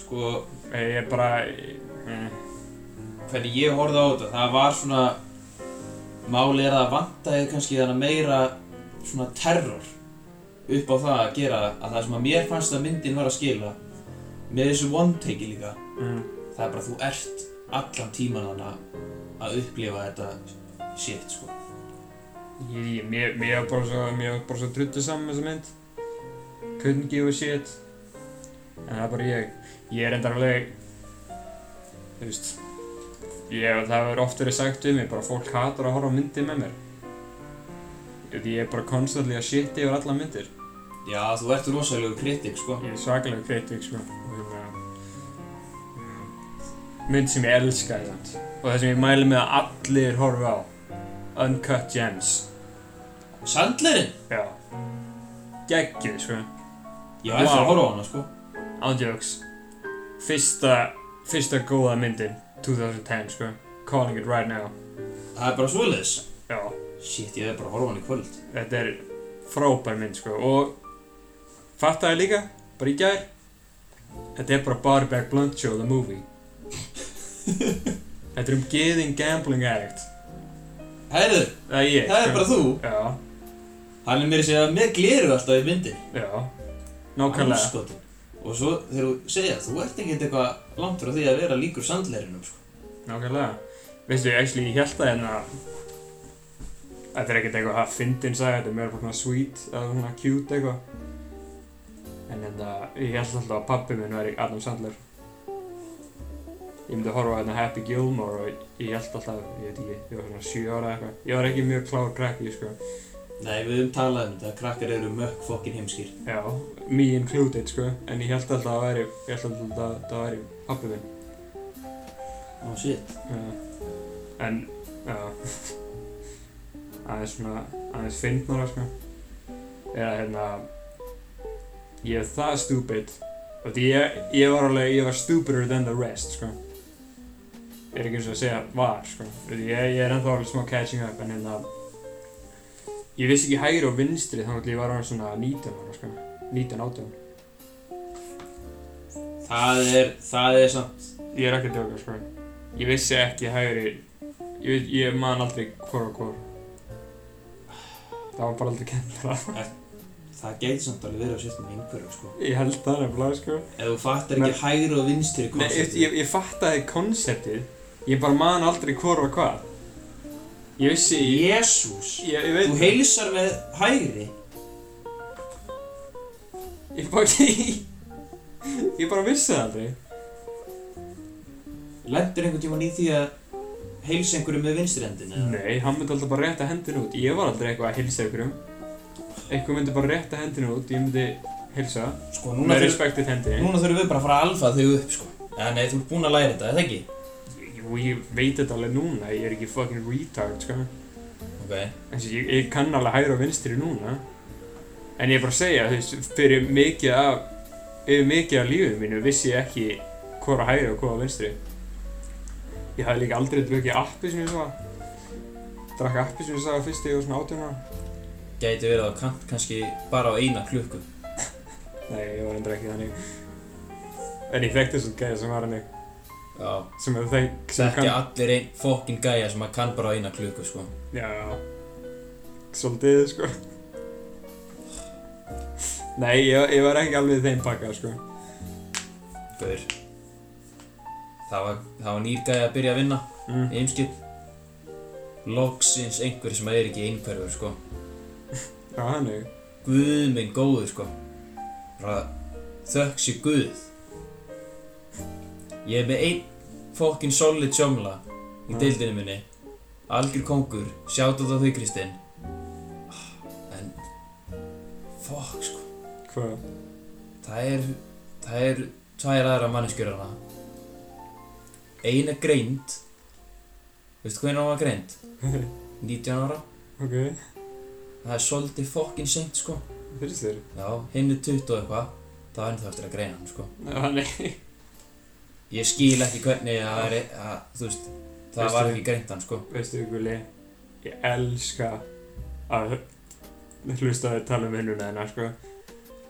[SPEAKER 2] sko,
[SPEAKER 1] Ég ég bara, eh,
[SPEAKER 2] hvernig ég horfði á þetta, það var svona Máli er að það vantaði kannski þannig meira svona terror upp á það að gera að það sem að mér fannst að myndin var að skila með þessu one take líka
[SPEAKER 1] mm,
[SPEAKER 2] það er bara þú ert allan tíman hana að upplifa þetta shit sko
[SPEAKER 1] Ég, ég, mér, mér var bara svo, mér var bara svo truttu saman þessa mynd Couldn't give a shit En það er bara ég Ég er endar alveg Þú veist ég, Það hefur oft verið sagt um mig, bara fólk hatar að horfa á myndir með mér Því ég er bara konstantli að shit yfir alla myndir
[SPEAKER 2] Já, þú ert rosalegu kritik sko
[SPEAKER 1] Ég er svakalega kritik, sko Og hérna mm, Mynd sem ég elska, ég sant Og það sem ég mæli með að allir horfa á Uncut Gems
[SPEAKER 2] Sandlerinn?
[SPEAKER 1] Já Geggjuð, sko
[SPEAKER 2] Ég var eftir
[SPEAKER 1] Vá.
[SPEAKER 2] að horfa á hana sko
[SPEAKER 1] Ándjóks Fyrsta Fyrsta góða myndin 2010 sko Calling it right now
[SPEAKER 2] Það er bara svoleiðis
[SPEAKER 1] Já
[SPEAKER 2] Shit, ég er bara að horfa á hana í kvöld
[SPEAKER 1] Þetta er frábær mynd sko Og Fattaði líka Bara í gær Þetta er bara Barback Blunt Show The
[SPEAKER 2] [laughs]
[SPEAKER 1] movie Þetta er um geðin gambling addict
[SPEAKER 2] Herðu,
[SPEAKER 1] Það er ég sko.
[SPEAKER 2] það er bara þú
[SPEAKER 1] Já
[SPEAKER 2] Hann er mér að segja með gleru alltaf í myndin
[SPEAKER 1] Já Nákvæmlega
[SPEAKER 2] Andskotinn. Og svo þegar þú segja þú ert ekkert eitthvað langt frá því að vera líkur sandlerinnum sko
[SPEAKER 1] Nákvæmlega Veistu, actually, ég held að hérna Þetta er ekkert eitthvað að fyndin sagði, þetta er meira bara svona sweet eða svona cute eitthvað En hérna, ég held alltaf að pabbi minn væri Adam Sandler Ég myndi að horfa á hérna Happy Gilmore og ég held alltaf, ég veit ekki, ég var svona 7 ára eða eitthvað Ég var ekki mjög klár krakki, sko
[SPEAKER 2] Nei, við höfum talað um þetta, krakkar eru mökk fokkin heimskir
[SPEAKER 1] Já, me included, sko En ég held alltaf að væri, ég held alltaf að það væri pabbi minn
[SPEAKER 2] Ó shit
[SPEAKER 1] Já. En, já [laughs] Aðeins svona, aðeins fyndnara sko Eða hérna Ég er það stupid Og því ég, ég var alveg, ég var stupider than the rest sko Ég er ekki eins og að segja var sko Því ég, ég er ennþá alveg smá catching up en hérna Ég vissi ekki hægri og vinstri þannig að ég var alveg svona 19 ára sko 19, 18
[SPEAKER 2] Það er, það er samt
[SPEAKER 1] Ég er ekki að djóka sko Ég vissi ekki hægri Ég, ég man aldrei hvor og hvor Það var bara aldrei kendra
[SPEAKER 2] Það gæti samt alveg verið að setja með einhverjum sko
[SPEAKER 1] Ég held það nefnilega sko
[SPEAKER 2] Ef þú fattar ekki hægri og
[SPEAKER 1] Nei,
[SPEAKER 2] vinstri
[SPEAKER 1] ég,
[SPEAKER 2] konceptið
[SPEAKER 1] ég, ég fattaði konseptið Ég bara man aldrei hvor og hvað Ég vissi Ég,
[SPEAKER 2] Jésús
[SPEAKER 1] ég, ég veit
[SPEAKER 2] Þú heilsar með hægri
[SPEAKER 1] Ég bara ekki [laughs] Ég bara vissi það aldrei
[SPEAKER 2] Lendur einhvern tímann í því að heilsa einhverju með vinstri hendin eða?
[SPEAKER 1] Nei, hann myndi alltaf bara rétta hendin út Ég var aldrei eitthvað að hilsa ykkurum Einhver myndi bara rétta hendin út Ég myndi hilsa
[SPEAKER 2] Sko, núna,
[SPEAKER 1] Með
[SPEAKER 2] þurf,
[SPEAKER 1] respektið hendi
[SPEAKER 2] núna þurfum við bara að fara að alfa þig upp sko Já, nei, þú ert búinn að læra þetta, eða ekki?
[SPEAKER 1] Jú, ég veit þetta alveg núna, ég er ekki fucking retard, sko.
[SPEAKER 2] Ok
[SPEAKER 1] En ég, ég kann alveg hægra og vinstri núna. En ég er bara að segja, þú veist, fyrir mikið af, yfir mikið af lífið mínu vissi ég ekki hvora hægra og hvora vinstri. Ég hafði líka aldrei drukkið appi sem ég svo. Drakk appi sem ég sagði fyrst þegar ég var svona 18 ára.
[SPEAKER 2] Gæti verið á kant kannski bara á eina klukku
[SPEAKER 1] Nei, ég var endur ekki þannig. En ég þekkti þessum gæði sem var hannig,
[SPEAKER 2] Já
[SPEAKER 1] sem er þeng, sem
[SPEAKER 2] Þekkja allir ein fokkin gæja sem að kann bara á eina klukku sko
[SPEAKER 1] Já, já. Svolítið, sko. Nei, ég, ég var ekki alveg í þeim pakka, sko.
[SPEAKER 2] Gaur Það var, það var nýr gæja að byrja að vinna
[SPEAKER 1] Mm.
[SPEAKER 2] í Eimskip Loksins einhver sem er ekki einhverfur sko
[SPEAKER 1] Já, hannig.
[SPEAKER 2] Guð minn góður sko bara þökk sér Guð ég er með einn fokkin solid sjómla í
[SPEAKER 1] Mm.
[SPEAKER 2] deildinu minni algjör kongur, sjátt á þau Kristinn en fokk sko
[SPEAKER 1] Hvað?
[SPEAKER 2] það er það er tvær aðra manneskjur hérna. hana eina greind veistu hvernig hún var greind? 19 ára
[SPEAKER 1] Ok,
[SPEAKER 2] það er svolítið fokkin seint sko
[SPEAKER 1] finnst þér?
[SPEAKER 2] já, hinn er 20 og eitthvað það er ennþá eftir að greina hann sko
[SPEAKER 1] Já, nei.
[SPEAKER 2] ég skil ekki hvernig að, að, að þú veist það
[SPEAKER 1] Veistu-
[SPEAKER 2] var ekki greint hann sko
[SPEAKER 1] [laughs] Veistu, Gulli, ég elska að hlusta þér tala um vinnuna hennar, sko.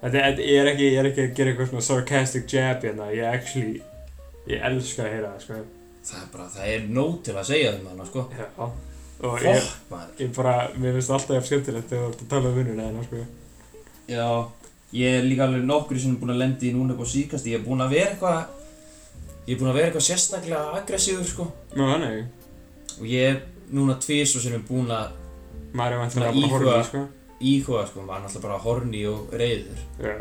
[SPEAKER 1] Þetta, þetta, ég er ekki, ég er ekki að gera eitthvað svona sarcastic jab hérna, ég actually, ég elska að heyra það, sko.
[SPEAKER 2] það er bara, það er nóg til að segja þeim hann sko
[SPEAKER 1] Já. Og ég,
[SPEAKER 2] fokk maður
[SPEAKER 1] ég bara, mér finnst alltaf jafn skemmtilegt þegar þú ert að tala um vinnuna hennar, sko.
[SPEAKER 2] já, ég er líka alveg nokkur sem er búin að lendi í núna eitthvað síkast ég er búin að vera eitthvað ég er búin að vera eitthvað sérstaklega aggressífur sko
[SPEAKER 1] Nú, þannig,
[SPEAKER 2] og ég er núna tvís og sem er búin að
[SPEAKER 1] maður er
[SPEAKER 2] Svona
[SPEAKER 1] vantilega bara að horfa,
[SPEAKER 2] íhuga.
[SPEAKER 1] í, sko.
[SPEAKER 2] íhuga sko, maður er náttúrulega bara horni og reyður
[SPEAKER 1] Já.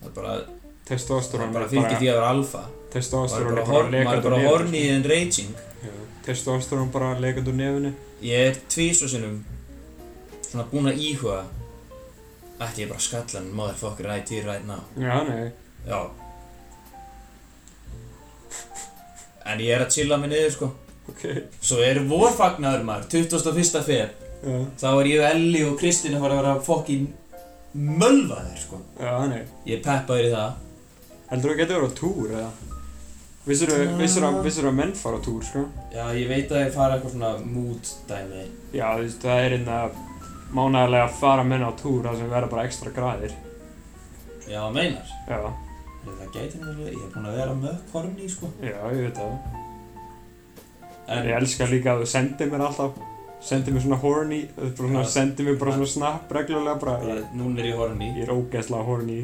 [SPEAKER 2] það er bara, það
[SPEAKER 1] Testosterón
[SPEAKER 2] er
[SPEAKER 1] er
[SPEAKER 2] bara fylgir því að vera alfa maður
[SPEAKER 1] testosterón er
[SPEAKER 2] er bara,
[SPEAKER 1] bara
[SPEAKER 2] horn, maður
[SPEAKER 1] lekand
[SPEAKER 2] er
[SPEAKER 1] úr
[SPEAKER 2] bara horni
[SPEAKER 1] nefinu.
[SPEAKER 2] en raging
[SPEAKER 1] sko. Já. Testosterón bara lekand úr nefinu.
[SPEAKER 2] ég er tvís og sinnum svona búin að íhuga ætti ég bara að skalla hann motherfucker right here right now
[SPEAKER 1] Já, nei.
[SPEAKER 2] já en ég er að chilla mig niður sko
[SPEAKER 1] Ok.
[SPEAKER 2] svo er vorfagnaður maður 21. feb
[SPEAKER 1] Já,
[SPEAKER 2] þá er ég og Elli og Kristinn að fara að vera fokkin mölvaðir sko
[SPEAKER 1] já, nei.
[SPEAKER 2] ég peppaður í það
[SPEAKER 1] Heldur þú að geta verið á túr eða? Vissir
[SPEAKER 2] Já.
[SPEAKER 1] þú að menn fara á túr, sko?
[SPEAKER 2] já ég veit að ég fara eitthvað svona mood dæmi
[SPEAKER 1] Já, þú veist, það er einna mánaglega að fara menn á túr þar sem verða bara ekstra graðir.
[SPEAKER 2] já meinar
[SPEAKER 1] Já,
[SPEAKER 2] það gæti náttúrulega ég er búin að vera mökk horni sko
[SPEAKER 1] já, ég veit það.
[SPEAKER 2] en
[SPEAKER 1] Ég elska líka að þú sendir mér alltaf, sendir mér svona horny, þú veist, bara svona,
[SPEAKER 2] Já.
[SPEAKER 1] sendir mér bara svona snapp reglulega, bara,
[SPEAKER 2] bara, núna er ég horni
[SPEAKER 1] ég er ógeðslega horny.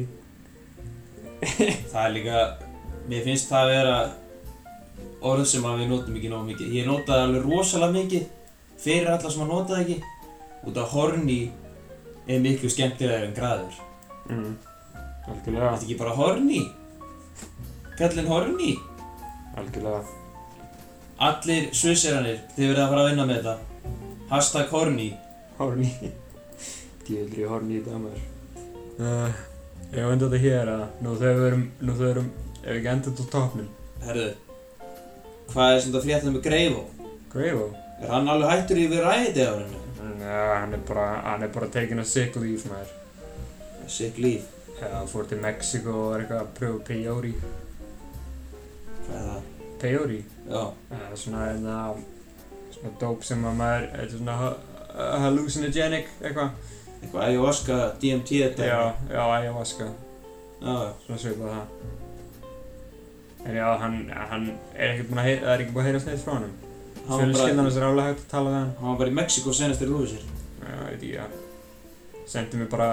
[SPEAKER 2] Það er líka, mér finnst það að vera orð sem að við notum ekki nógu mikið. Ég notaði alveg rosalega mikið fyrir alla sem að notaði ekki. Út af horni er miklu skemmtilegar en graður.
[SPEAKER 1] Mm.
[SPEAKER 2] Þetta
[SPEAKER 1] Algjörlega,
[SPEAKER 2] er ekki bara horni. Kallinn horni.
[SPEAKER 1] algjörlega.
[SPEAKER 2] Allir svisseranir, þið verðið að fara að vinna með þetta. Hashtag horni.
[SPEAKER 1] Horny. [laughs] Djöðlir ég horny í dag maður. Uh, ég veit þetta hér að nú þegar við erum, nú þegar við erum, ef ekki endur til topnum.
[SPEAKER 2] Herðu, hvað er sem þetta frétta með Greifó?
[SPEAKER 1] Greifo?
[SPEAKER 2] Er hann alveg hættur yfir ræðið á hennu?
[SPEAKER 1] Já, hann er bara, hann er bara tekin að sick leave maður.
[SPEAKER 2] Sick líf.
[SPEAKER 1] Já, hann fór til Mexiko og er eitthvað að pröfa peyote.
[SPEAKER 2] Hvað er það?
[SPEAKER 1] Peyote?
[SPEAKER 2] Já.
[SPEAKER 1] Já, svona hérna, svona dope sem að maður, þetta er svona ha- hallucinogenic eitthvað.
[SPEAKER 2] Eitthvað ayahuasca, DMT þetta.
[SPEAKER 1] Já, já, ayahuasca.
[SPEAKER 2] Já,
[SPEAKER 1] svona svipað það en já, hann, hann er ekki búinn að heyra, það er ekki búinn að heyra sneitt frá hann
[SPEAKER 2] Hann var bara-
[SPEAKER 1] fjölskyldan hans er alveg hægt að tala við hann
[SPEAKER 2] Hann var bara í Mexiko senast þegar þú þessir.
[SPEAKER 1] já, ég veit ekki, já sendi mér bara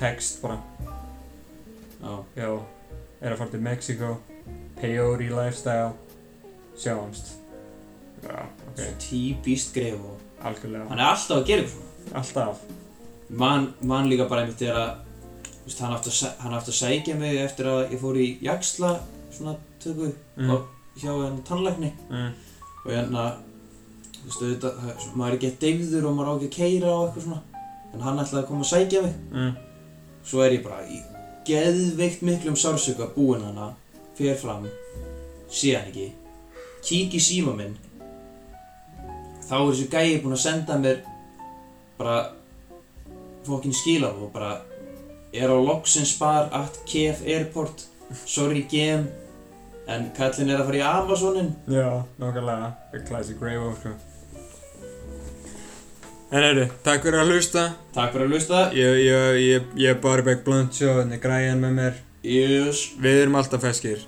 [SPEAKER 1] text bara
[SPEAKER 2] Já.
[SPEAKER 1] já, er að fara til Mexico peyote lifestyle sjáumst já, ok,
[SPEAKER 2] Okay. Típist greif og...
[SPEAKER 1] algjörlega
[SPEAKER 2] Hann er alltaf að gera eitthvað svona.
[SPEAKER 1] alltaf,
[SPEAKER 2] Man, man líka bara einmitt þegar að... Þú veist, hann átti að, sæ- hann átti að sækja mig eftir að ég fór í jaksla svona tökku
[SPEAKER 1] mm,
[SPEAKER 2] Og- hjá henni tannlækni.
[SPEAKER 1] mm,
[SPEAKER 2] Og hérna... Þú veist, auðvitað, það er svo- maður er ekki að deyfður og maður á ekki að keyra og eitthvað svona. En hann ætlaði að koma að sækja mig.
[SPEAKER 1] mm,
[SPEAKER 2] Svo er ég bara í geðveikt miklum sársöka búinn hana, fer fram, sé hann ekki, kík í síma minn, þá er þessi gæi búinn að senda mér bara fokkin skilaf og bara er á loksins bar at KF Airport, sorry GM, en kallinn er að fara í Amazonin.
[SPEAKER 1] já, nokkulega a classic grave of sko En heyrðu, takk fyrir að hlusta
[SPEAKER 2] Takk fyrir að hlusta,
[SPEAKER 1] Ég, ég, ég, ég er Barbeck Blancho, þannig græjan með mér.
[SPEAKER 2] yes,
[SPEAKER 1] Við erum alltaf feskir.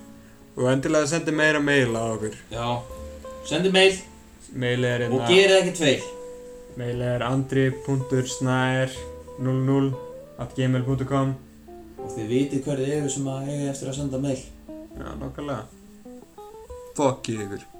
[SPEAKER 1] Og endilega sendi meira mail á okkur.
[SPEAKER 2] já, sendi mail
[SPEAKER 1] Mail er
[SPEAKER 2] og
[SPEAKER 1] hérna,
[SPEAKER 2] gerið ekki tveil.
[SPEAKER 1] mail er andri.snær00 at gmail.com
[SPEAKER 2] Og þið vitið hverðið eru sem að eiga eftir að senda mail.
[SPEAKER 1] Já, nokkulega. Fuck you ykkur.